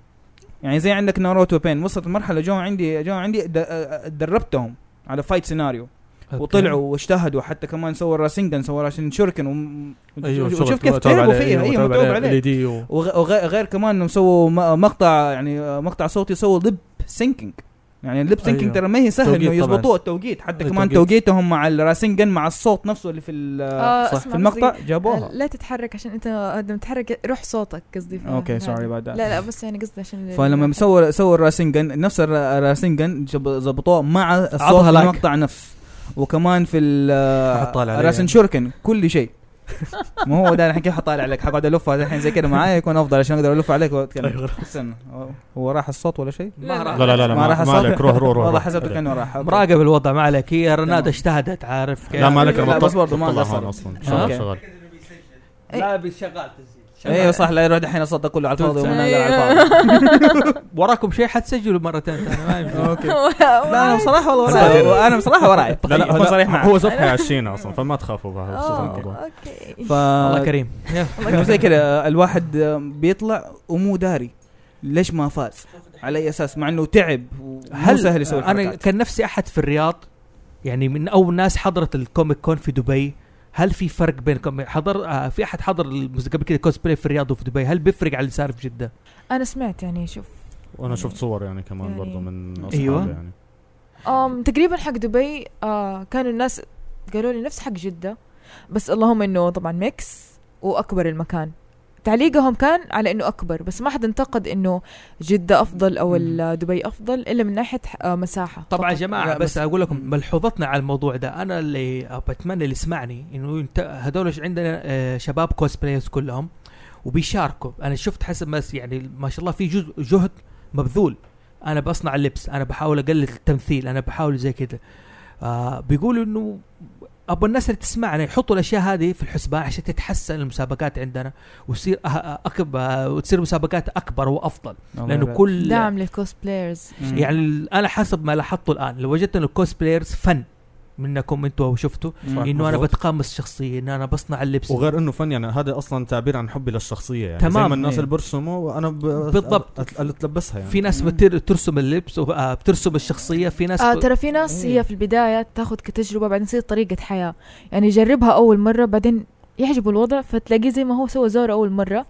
Speaker 3: يعني زي عندك ناروتو بين وصلت مرحله جو عندي جو عندي د- آه، دربتهم على فايت سيناريو
Speaker 4: أوكي.
Speaker 3: وطلعوا واجتهدوا حتى كمان سووا راسنجن سووا راسن شوركن و...
Speaker 5: أيوة، شغل أيوة،
Speaker 3: شوف كيف
Speaker 5: متعوب
Speaker 4: طيب
Speaker 5: أيوه،
Speaker 3: تعبوا
Speaker 5: عليه،
Speaker 3: فيها
Speaker 4: أيوة،
Speaker 3: ايوه متعوب عليه
Speaker 5: LED و-
Speaker 3: وغير كمان انهم سووا م- مقطع يعني آه، مقطع صوتي سووا لب سينكينج يعني اللب سينكينج
Speaker 5: أيوه.
Speaker 3: ترى ما هي سهل
Speaker 5: توقيت
Speaker 3: انه
Speaker 5: طبعاً.
Speaker 3: يضبطوه التوقيت حتى
Speaker 5: أي
Speaker 3: كمان
Speaker 5: توقيت.
Speaker 3: توقيتهم مع الراسنجن مع الصوت نفسه اللي في ال-
Speaker 2: آه،
Speaker 3: صح
Speaker 2: اسمع
Speaker 3: في المقطع
Speaker 2: آه،
Speaker 3: جابوها
Speaker 2: لا تتحرك عشان انت لما تتحرك روح صوتك قصدي في
Speaker 3: اوكي
Speaker 2: هذا.
Speaker 3: سوري بعد
Speaker 2: لا لا بس يعني قصدي عشان
Speaker 3: فلما سووا سووا الراسنجن نفس الر- الراسنجن جب- ظبطوه مع الصوت
Speaker 4: عطها
Speaker 3: في
Speaker 4: لايك.
Speaker 3: المقطع نفسه وكمان في
Speaker 5: حطال عليه
Speaker 3: الراسن
Speaker 5: يعني.
Speaker 3: شوركن كل شيء ما هو ده الحين كيف حطال عليك حقعد الف الحين زي كده معايا يكون افضل عشان اقدر الف عليك
Speaker 5: أيوه.
Speaker 3: واتكلم استنى هو- هو راح الصوت ولا شيء؟
Speaker 4: ما
Speaker 1: لا لا لا
Speaker 3: ما راح
Speaker 1: ما
Speaker 3: أصاب.
Speaker 1: مالك روح روح روح
Speaker 3: والله
Speaker 1: روح.
Speaker 3: حسبتك انه راح أوكي.
Speaker 4: مراقب الوضع ما عليك هي
Speaker 3: تمام.
Speaker 4: رناد اجتهدت عارف كيف
Speaker 1: لا مالك
Speaker 3: لا،
Speaker 1: روح.
Speaker 3: بس برضه ما
Speaker 1: طلع
Speaker 3: قصر.
Speaker 1: هون اصلا
Speaker 3: أوكي.
Speaker 1: شغال شغال
Speaker 4: لا شغال تسجيل
Speaker 1: إيه.
Speaker 3: ايوه صح لا يروح دحين الصوت ده كله على الفاضي وانا قاعد على الفاضي
Speaker 2: الفاضي
Speaker 4: وراكم شيء حتسجلوا مرتين ثانيه ما يمديك.
Speaker 3: لا انا بصراحه والله وراي انا بصراحه وراي
Speaker 1: لا لا
Speaker 3: أكون
Speaker 1: هو-
Speaker 3: صريح معك
Speaker 1: هو زوف حيعشينا اصلا فما تخافوا بهذا الموضوع
Speaker 2: اوكي
Speaker 3: ف
Speaker 4: الله كريم
Speaker 3: يعني زي كده الواحد بيطلع ومو داري ليش ما فاز على اي اساس مع انه تعب ومو
Speaker 4: هل
Speaker 3: سهل يسوي
Speaker 4: انا
Speaker 3: الحركات.
Speaker 4: كان نفسي احد في الرياض يعني من اول ناس حضرت الكوميك كون في دبي هل في فرق بين كوميك- حضر آه في احد حضر المس- قبل كده كوسبلاي في الرياض وفي دبي هل بيفرق عن اللي صار في جده؟
Speaker 2: انا سمعت يعني شوف
Speaker 1: وانا شفت صور يعني كمان
Speaker 2: يعني-
Speaker 1: برضه من اصحابي
Speaker 4: أيوة.
Speaker 1: يعني
Speaker 2: أم تقريبا حق دبي آه كانوا الناس قالوا لي نفس حق جدة بس اللهم انه طبعا ميكس واكبر المكان تعليقهم كان على انه اكبر بس ما حد انتقد انه جدة افضل او ال- دبي افضل الا من ناحية آه مساحة
Speaker 4: طبعا يا
Speaker 2: فقط.
Speaker 4: جماعه
Speaker 3: لا،
Speaker 4: بس,
Speaker 3: بس-
Speaker 4: اقول لكم ملحوظتنا على الموضوع ده انا اللي أب- اتمنى اللي يسمعني انه ينت- هذول ش- عندنا آه، شباب كوسبلايرز كلهم وبيشاركوا انا شفت حسب ما س- يعني ما شاء الله في جزء جهد مبذول انا بصنع اللبس انا بحاول اقلل التمثيل انا بحاول زي كده آه بيقولوا انه ابو الناس اللي تسمعنا يحطوا الاشياء هذه في الحسبان عشان تتحسن المسابقات عندنا وتصير أه- أه- اكبر وتصير مسابقات اكبر وافضل لانه كل
Speaker 2: دعم للكوست بلايرز
Speaker 4: يعني ال- انا حسب ما لاحظته الان لو وجدت ان الكوست بلايرز فن منكم انتوا وشفتوا انه انا
Speaker 1: مظبوط.
Speaker 4: بتقمص الشخصيه ان انا بصنع اللبس
Speaker 1: وغير انه فن يعني هذا اصلا تعبير عن حبي للشخصيه يعني
Speaker 4: تمام،
Speaker 1: زي ما الناس
Speaker 3: إيه.
Speaker 1: اللي بيرسموا وانا ب...
Speaker 4: بالضبط.
Speaker 1: أت- اتلبسها يعني
Speaker 4: في ناس
Speaker 3: مم.
Speaker 4: بتر... ترسم اللبس و... آه، بترسم الشخصيه في ناس
Speaker 2: آه
Speaker 4: ب-
Speaker 2: ترى في ناس
Speaker 4: إيه.
Speaker 2: هي في البداية تاخذ كتجربة بعدين تصير طريقة حياة يعني يجربها أول مرة بعدين يعجبه الوضع فتلاقيه زي ما هو سوى زورة أول مرة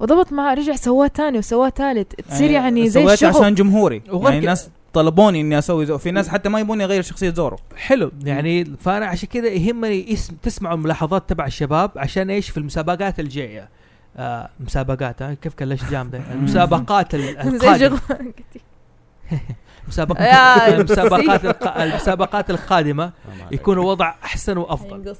Speaker 2: وضبط معاه رجع سواه تاني وسواه ثالث تصير يعني زي
Speaker 3: سويته
Speaker 2: الشغل
Speaker 3: عشان جمهوري
Speaker 4: وغير
Speaker 3: يعني
Speaker 4: كده-
Speaker 3: الناس طلبوني اني اسوي زورو في ناس حتى ما يبوني اغير شخصيه زورو
Speaker 4: حلو يعني فانا عشان كذا يهمني اسم تسمعوا الملاحظات تبع الشباب عشان ايش في المسابقات الجايه آه مسابقات آه كيف كان ليش جامده المسابقات ال-
Speaker 2: زي
Speaker 4: القادمه
Speaker 2: شغل
Speaker 4: مسابقات
Speaker 2: يا
Speaker 4: المسابقات الق- المسابقات القادمه
Speaker 1: آه، ما عليك.
Speaker 4: يكون وضع احسن وافضل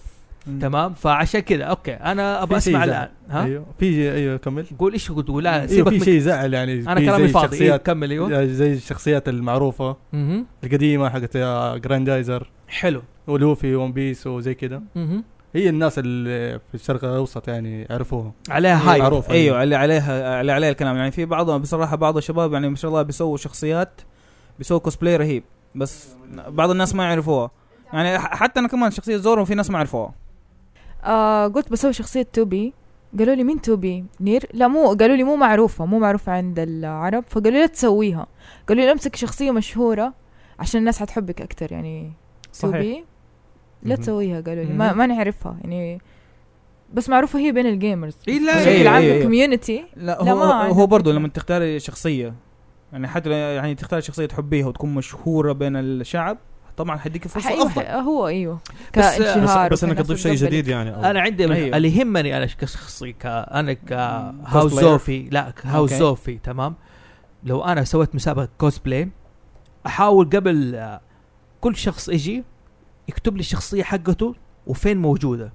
Speaker 4: تمام فعشان كذا اوكي انا ابغى
Speaker 5: في شيء
Speaker 4: اسمع
Speaker 5: زعل.
Speaker 4: الان ها
Speaker 5: ايوه في ايوه كمل
Speaker 4: قول ايش كنت تقول لا
Speaker 5: ايوه
Speaker 4: سيبك
Speaker 5: في
Speaker 4: من-
Speaker 5: شيء زعل يعني
Speaker 4: انا
Speaker 5: في
Speaker 4: كلامي
Speaker 5: زي
Speaker 4: فاضي إيه،
Speaker 5: الشخصيات آه،
Speaker 4: كمل ايوه
Speaker 5: زي الشخصيات المعروفه
Speaker 4: مهم.
Speaker 5: القديمه حقت يا جراندايزر
Speaker 4: حلو
Speaker 5: ولوفي ون بيس وزي كذا
Speaker 4: مهم.
Speaker 5: هي الناس اللي في الشرق الاوسط يعني عرفوها
Speaker 4: عليها هاي
Speaker 5: معروفة.
Speaker 3: ايوه اللي عليها اللي عليها الكلام يعني في بعضهم بصراحه بعض الشباب يعني ما شاء الله بيسووا شخصيات بيسووا كوسبلاي رهيب بس بعض الناس ما يعرفوها يعني ح- حتى انا كمان شخصيه زورو في ناس ما عرفوها
Speaker 2: آه قلت بسوي شخصية توبي قالوا لي مين توبي نير لا مو قالوا لي مو معروفة مو معروفة عند العرب فقالوا لي لا تسويها قالوا لي امسك شخصية مشهورة عشان الناس حتحبك أكتر يعني
Speaker 3: صحيح.
Speaker 2: توبي لا
Speaker 5: مهم.
Speaker 2: تسويها قالوا لي ما,
Speaker 4: مهم.
Speaker 2: ما نعرفها يعني بس معروفة هي بين الجيمرز
Speaker 4: إيه، لا،
Speaker 3: إيه،
Speaker 2: بشكل
Speaker 3: إيه،
Speaker 2: عام
Speaker 3: إيه.
Speaker 2: الكوميونتي
Speaker 3: لا
Speaker 2: لا،
Speaker 3: هو
Speaker 2: ما عندك
Speaker 3: هو برضه
Speaker 2: فكرة.
Speaker 3: لما تختار شخصيه يعني حتى لو يعني تختار شخصيه تحبيها وتكون مشهوره بين الشعب طبعا حديك فرصه
Speaker 2: أيوه
Speaker 3: افضل
Speaker 2: هو ايوه
Speaker 4: بس-
Speaker 2: كانشهار
Speaker 1: بس انك
Speaker 2: وكناس
Speaker 1: تضيف شيء
Speaker 2: وتقبل.
Speaker 1: جديد يعني أو-
Speaker 4: انا عندي
Speaker 5: أيوه.
Speaker 3: أيوة.
Speaker 4: اللي يهمني انا كشخصي ك انا ك
Speaker 3: مم.
Speaker 4: هاوس
Speaker 3: Cosplayer.
Speaker 4: زوفي لا هاوس
Speaker 3: أوكي.
Speaker 4: زوفي تمام لو انا سويت مسابقه كوسبلاي احاول قبل آه، كل شخص يجي يكتب لي الشخصيه حقته وفين موجوده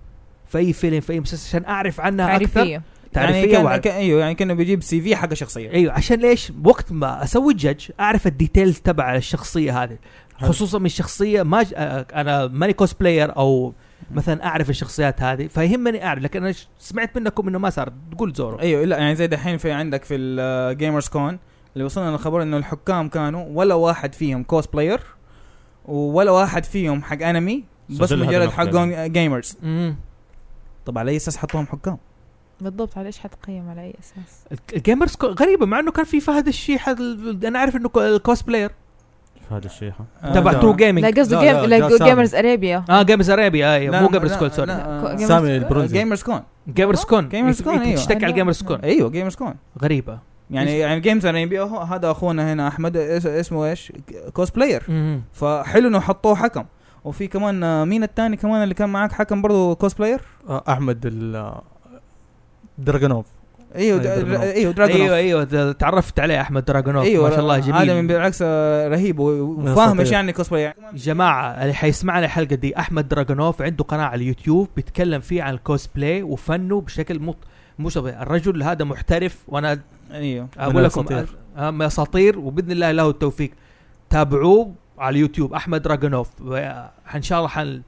Speaker 4: في اي فيلم في اي مسلسل عشان اعرف عنها اكثر
Speaker 2: تعريفية
Speaker 4: تعريفيه
Speaker 3: يعني كان
Speaker 4: وأعرف-
Speaker 3: كان ايوه يعني كانه بيجيب سي في حق شخصيه
Speaker 4: ايوه عشان ليش وقت ما اسوي جدج اعرف الديتيلز تبع الشخصيه هذه
Speaker 1: حلو.
Speaker 4: خصوصا من شخصيه ما ج... آه، انا ماني بلاير او مثلا اعرف الشخصيات هذه فيهمني اعرف لكن انا ش- سمعت منكم انه ما صار تقول زورو
Speaker 3: ايوه لا يعني زي دحين في عندك في الجيمرز كون اللي وصلنا للخبر انه الحكام كانوا ولا واحد فيهم كوس بلاير ولا واحد فيهم حق انمي بس
Speaker 1: سجلها
Speaker 3: مجرد
Speaker 1: بنقطة
Speaker 3: حقهم جيمرز
Speaker 4: امم
Speaker 3: طب على اي اساس حطوهم حكام؟
Speaker 2: بالضبط على ايش حتقيم على اي اساس
Speaker 4: الجيمرز كو- غريبه مع انه كان في فهد الشيحة ال- انا عارف انه كو- كوس بلاير
Speaker 1: في هذا الشيحه
Speaker 3: آه،
Speaker 4: تبع
Speaker 3: لا.
Speaker 4: ترو
Speaker 2: لا
Speaker 4: جيمنج
Speaker 2: قصده
Speaker 5: لا،
Speaker 2: جيم
Speaker 5: لا،
Speaker 2: لا
Speaker 5: جا سامي.
Speaker 2: جيمرز اريبيا
Speaker 4: اه جيمرز ارابيا
Speaker 3: لا،
Speaker 4: ايوه مو جيمرز
Speaker 3: لا،
Speaker 4: كول سوري
Speaker 3: لا،
Speaker 2: جيمرز-
Speaker 5: سامي البرونزي
Speaker 3: جيمرز كون
Speaker 4: جيمرز كون
Speaker 3: جيمرز كون، أيوة.
Speaker 4: تشتكي على جيمرز كون
Speaker 3: ايوه جيمرز كون
Speaker 4: غريبه
Speaker 3: يعني يعني جيمز انا يبي أهو، هذا اخونا هنا احمد اس- اسمه ايش؟ كوس بلاير
Speaker 4: مم.
Speaker 3: فحلو انه حطوه حكم وفي كمان آه، مين الثاني كمان اللي كان معاك حكم برضه كوس بلاير؟
Speaker 5: آه، احمد ال- آه، درجانوف
Speaker 3: ايوه د-
Speaker 5: دراجونوف.
Speaker 3: ايوه دراجون
Speaker 4: ايوه ايوه د- تعرفت عليه احمد دراجونوف
Speaker 3: ايوه
Speaker 4: ما شاء الله جميل
Speaker 3: هذا من بالعكس آه، رهيب و- وفاهم ايش
Speaker 5: أساطير.
Speaker 3: يعني كوسبلاي يعني
Speaker 4: جماعة اللي حيسمعنا الحلقة دي أحمد دراجونوف عنده قناة على اليوتيوب بيتكلم فيه عن الكوسبلاي وفنه بشكل مط... مو طبيعي الرجل هذا محترف وأنا
Speaker 3: ايوه
Speaker 4: أقول لكم
Speaker 5: الأساطير.
Speaker 4: آه، من أساطير وبإذن الله له التوفيق تابعوه على اليوتيوب أحمد دراجونوف و- إن شاء الله حن...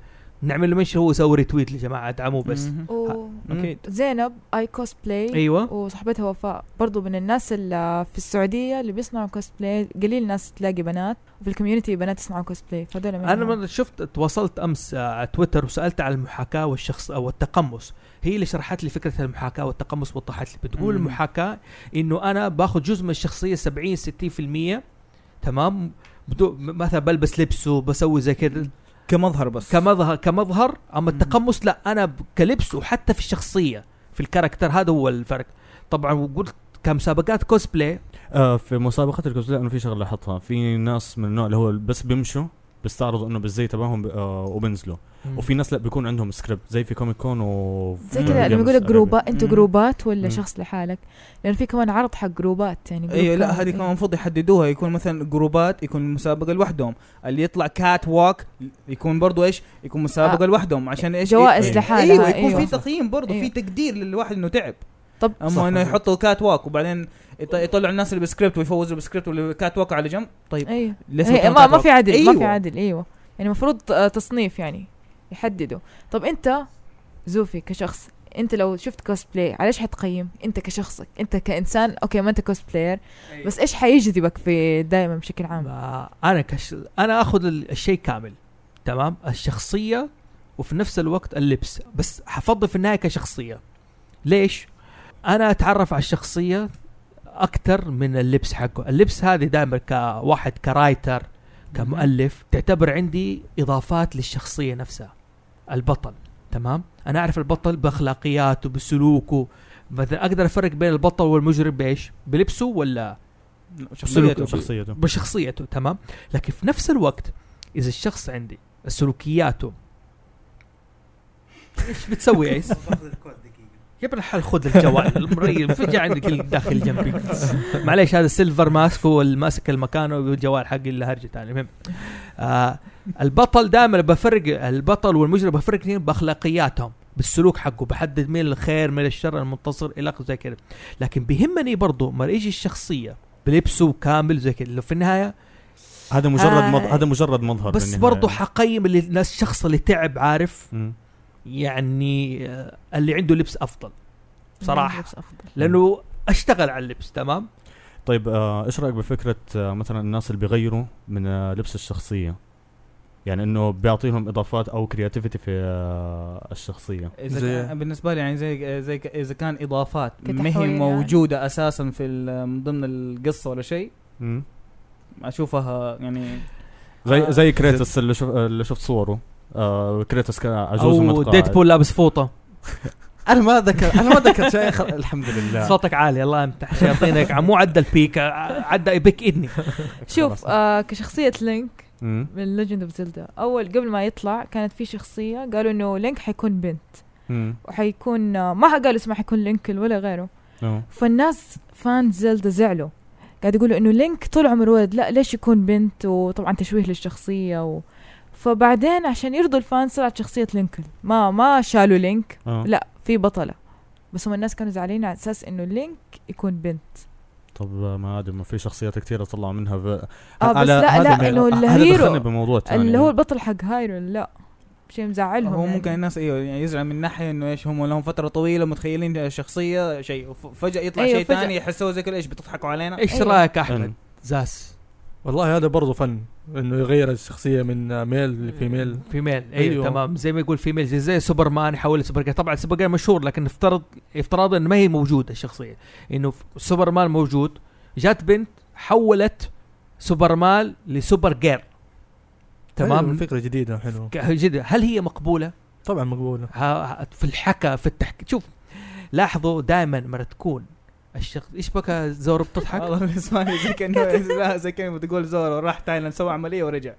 Speaker 4: نعمل له منشن هو يسوي ريتويت لجماعة ادعموه بس
Speaker 3: مهم.
Speaker 4: أوكي.
Speaker 3: اكيد
Speaker 2: زينب اي كوسبلاي
Speaker 4: أيوة
Speaker 2: وصاحبتها وفاء برضو من الناس اللي في السعودية اللي بيصنعوا كوسبلاي قليل ناس تلاقي بنات وفي الكوميونتي بنات يصنعوا كوسبلاي فهذول
Speaker 4: أنا
Speaker 3: آه.
Speaker 4: من شفت تواصلت أمس آه، على تويتر وسألت عن المحاكاة والشخص أو التقمص هي اللي شرحت لي فكرة المحاكاة والتقمص وضحت لي بتقول
Speaker 3: مم.
Speaker 4: المحاكاة انه انا باخذ جزء من الشخصيه 70 60% تمام بدو م- مثلا بلبس لبسه بسوي زي كذا
Speaker 3: كمظهر بس
Speaker 4: كمظهر كمظهر اما
Speaker 3: مم.
Speaker 4: التقمص لا انا ب- كلبس وحتى في الشخصيه في الكاركتر هذا هو الفرق طبعا وقلت كمسابقات كوسبلاي
Speaker 1: آه في مسابقات الكوسبلاي انا في شغله احطها في ناس من النوع اللي هو بس بيمشوا بيستعرضوا انه بالزي تبعهم ب- آه وبنزلوا وفي ناس لا بيكون عندهم سكريبت زي في كوميك كون و
Speaker 2: زي كذا لما
Speaker 1: جيمس
Speaker 2: يقول لك
Speaker 1: أرابي.
Speaker 2: جروبات انتوا
Speaker 3: مم.
Speaker 2: جروبات ولا
Speaker 1: مم.
Speaker 2: شخص لحالك لان في كمان عرض حق جروبات يعني جروب
Speaker 3: ايوه لا
Speaker 2: كامل.
Speaker 3: هذه كمان المفروض يحددوها يكون مثلا جروبات يكون مسابقه لوحدهم اللي يطلع كات واك يكون برضو ايش يكون مسابقه
Speaker 2: آه.
Speaker 3: لوحدهم عشان ايش
Speaker 2: جوائز
Speaker 3: إيه.
Speaker 2: لحالها،
Speaker 3: ايوه يكون
Speaker 2: أيوة.
Speaker 3: في تقييم برضو في
Speaker 2: أيوة.
Speaker 3: تقدير للواحد انه تعب
Speaker 2: طب
Speaker 3: اما انه يحطوا كات واك وبعدين يط- يطلعوا الناس اللي بالسكريبت ويفوزوا بالسكريبت واللي كات واك على جنب طيب
Speaker 2: ايوه
Speaker 3: ليش
Speaker 2: هي-
Speaker 3: يكون
Speaker 2: ما,
Speaker 3: كات
Speaker 2: ما
Speaker 3: واك؟
Speaker 2: في عدل ما في
Speaker 3: أيوة.
Speaker 2: عدل ايوه يعني المفروض آه، تصنيف يعني يحددوا طب انت زوفي كشخص انت لو شفت كوسبلاي على ايش حتقيم انت كشخصك انت كانسان اوكي ما انت كوسبلاير بس ايش حيجذبك في دائما بشكل عام
Speaker 4: ما- انا كش... انا اخذ ال- الشيء كامل تمام الشخصيه وفي نفس الوقت اللبس بس حفضل في النهايه كشخصيه ليش انا اتعرف على الشخصيه اكثر من اللبس حقه اللبس هذه دائما كواحد كرايتر كمؤلف تعتبر عندي اضافات للشخصيه نفسها البطل تمام انا اعرف البطل باخلاقياته بسلوكه مثلا اقدر افرق بين البطل والمجرم بايش بلبسه ولا
Speaker 3: شخصيته
Speaker 1: شخصيته
Speaker 4: بشخصيته تمام لكن في نفس الوقت اذا الشخص عندي سلوكياته ايش بتسوي يا عيسى؟ يا ابن الحلال خذ الجوال المريض فجع عندك داخل جنبي معليش هذا السيلفر ماسك هو اللي ماسك المكان والجوال حقي اللي هرجه ثاني المهم آه البطل دائما بفرق البطل والمجرم بفرق اثنين باخلاقياتهم بالسلوك حقه بحدد مين الخير من الشر المنتصر الى اخره زي كذا لكن بيهمني برضه ما يجي الشخصيه بلبسه كامل زي كذا لو في النهايه
Speaker 1: هذا مجرد
Speaker 4: آه.
Speaker 1: مظ... هذا مجرد مظهر
Speaker 4: بس
Speaker 1: بالنهاية.
Speaker 4: برضه حقيم اللي الناس الشخص اللي تعب عارف
Speaker 1: مم.
Speaker 4: يعني آه، اللي عنده لبس افضل بصراحه
Speaker 2: لبس يعني أفضل.
Speaker 4: لانه اشتغل على اللبس تمام
Speaker 1: طيب آه، ايش رايك بفكره آه، مثلا الناس اللي بيغيروا من آه، لبس الشخصيه يعني انه بيعطيهم اضافات او كرياتيفيتي في آه، الشخصيه
Speaker 3: اذا
Speaker 5: زي-
Speaker 3: كان- بالنسبه لي يعني زي زي ك- اذا كان اضافات ما
Speaker 2: كتحويل
Speaker 3: هي
Speaker 2: يعني.
Speaker 3: موجوده اساسا في ال- من ضمن القصه ولا شيء اشوفها يعني
Speaker 1: زي
Speaker 3: آه.
Speaker 1: زي كريتس اللي, شف... اللي شفت صوره آه كريتس كان عجوز
Speaker 4: او
Speaker 1: ومتقاعد.
Speaker 4: ديت بول لابس فوطه
Speaker 5: انا ما ذكر انا ما ذكر شيء خ- الحمد لله
Speaker 4: صوتك عالي الله يمتح شياطينك مو عدى البيك آه، عدى بيك اذني
Speaker 2: شوف آه كشخصيه لينك
Speaker 1: مم.
Speaker 2: من ليجند اوف زلدا اول قبل ما يطلع كانت في شخصيه قالوا انه لينك حيكون بنت
Speaker 1: مم.
Speaker 2: وحيكون آه، ما قالوا اسمه حيكون لينكل ولا غيره
Speaker 1: آه.
Speaker 2: فالناس فان زلدا زعلوا قاعد يقولوا انه لينك طول عمره ولد لا ليش يكون بنت وطبعا تشويه للشخصيه و... فبعدين عشان يرضوا الفانز طلعت شخصيه لينكل ما ما شالوا لينك
Speaker 1: آه.
Speaker 2: لا في بطله بس هم الناس كانوا زعلانين على اساس انه لينك يكون بنت
Speaker 1: طب آه، ما ادري ما في شخصيات كثيره طلع منها ب...
Speaker 2: آه، بس لا- لا، إنه الهيرو.
Speaker 1: بموضوع ثاني
Speaker 2: اللي هو البطل حق هايرون لا شيء مزعلهم
Speaker 3: هو
Speaker 2: يعني.
Speaker 3: ممكن الناس ايوه يعني يزعل من ناحيه انه ايش هم لهم فتره طويله متخيلين شخصيه شيء وف- فجاه يطلع
Speaker 2: أيوة،
Speaker 3: شيء
Speaker 2: فجأة.
Speaker 3: ثاني يحسوا زي كذا ايش بتضحكوا علينا
Speaker 4: ايش
Speaker 2: أيوة.
Speaker 4: رايك
Speaker 1: مم.
Speaker 4: احمد زاس
Speaker 5: والله هذا برضه فن انه يغير الشخصيه من ميل لفيميل
Speaker 4: فيميل ايوه,
Speaker 5: أيوه.
Speaker 4: تمام زي ما يقول فيميل زي, زي سوبرمان حول سوبر جير. طبعا سوبر جير مشهور لكن افترض افتراض انه ما هي موجوده الشخصيه انه ف- سوبرمان موجود جات بنت حولت سوبرمان لسوبر جير
Speaker 5: أيوة،
Speaker 1: أيوه،
Speaker 4: تمام
Speaker 5: فكره جديده حلوه
Speaker 4: ك- جدا هل هي مقبوله
Speaker 5: طبعا مقبوله
Speaker 4: ها ها- في الحكى في التحكي شوف لاحظوا دائما مرة تكون الشخص ايش بك زورب تضحك
Speaker 3: والله بالنسبه لي زي كانه لا زي كانه بتقول زورو راح تايلاند سوى عمليه ورجع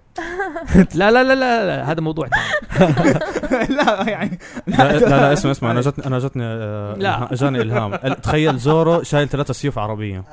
Speaker 4: لا لا لا لا, لا هذا موضوع تاني
Speaker 3: لا يعني
Speaker 1: لا لا, لا اسمع اسمع انا جتني انا جتني آه
Speaker 4: لا.
Speaker 1: جاني الهام ال- تخيل زورو شايل ثلاثة سيوف عربيه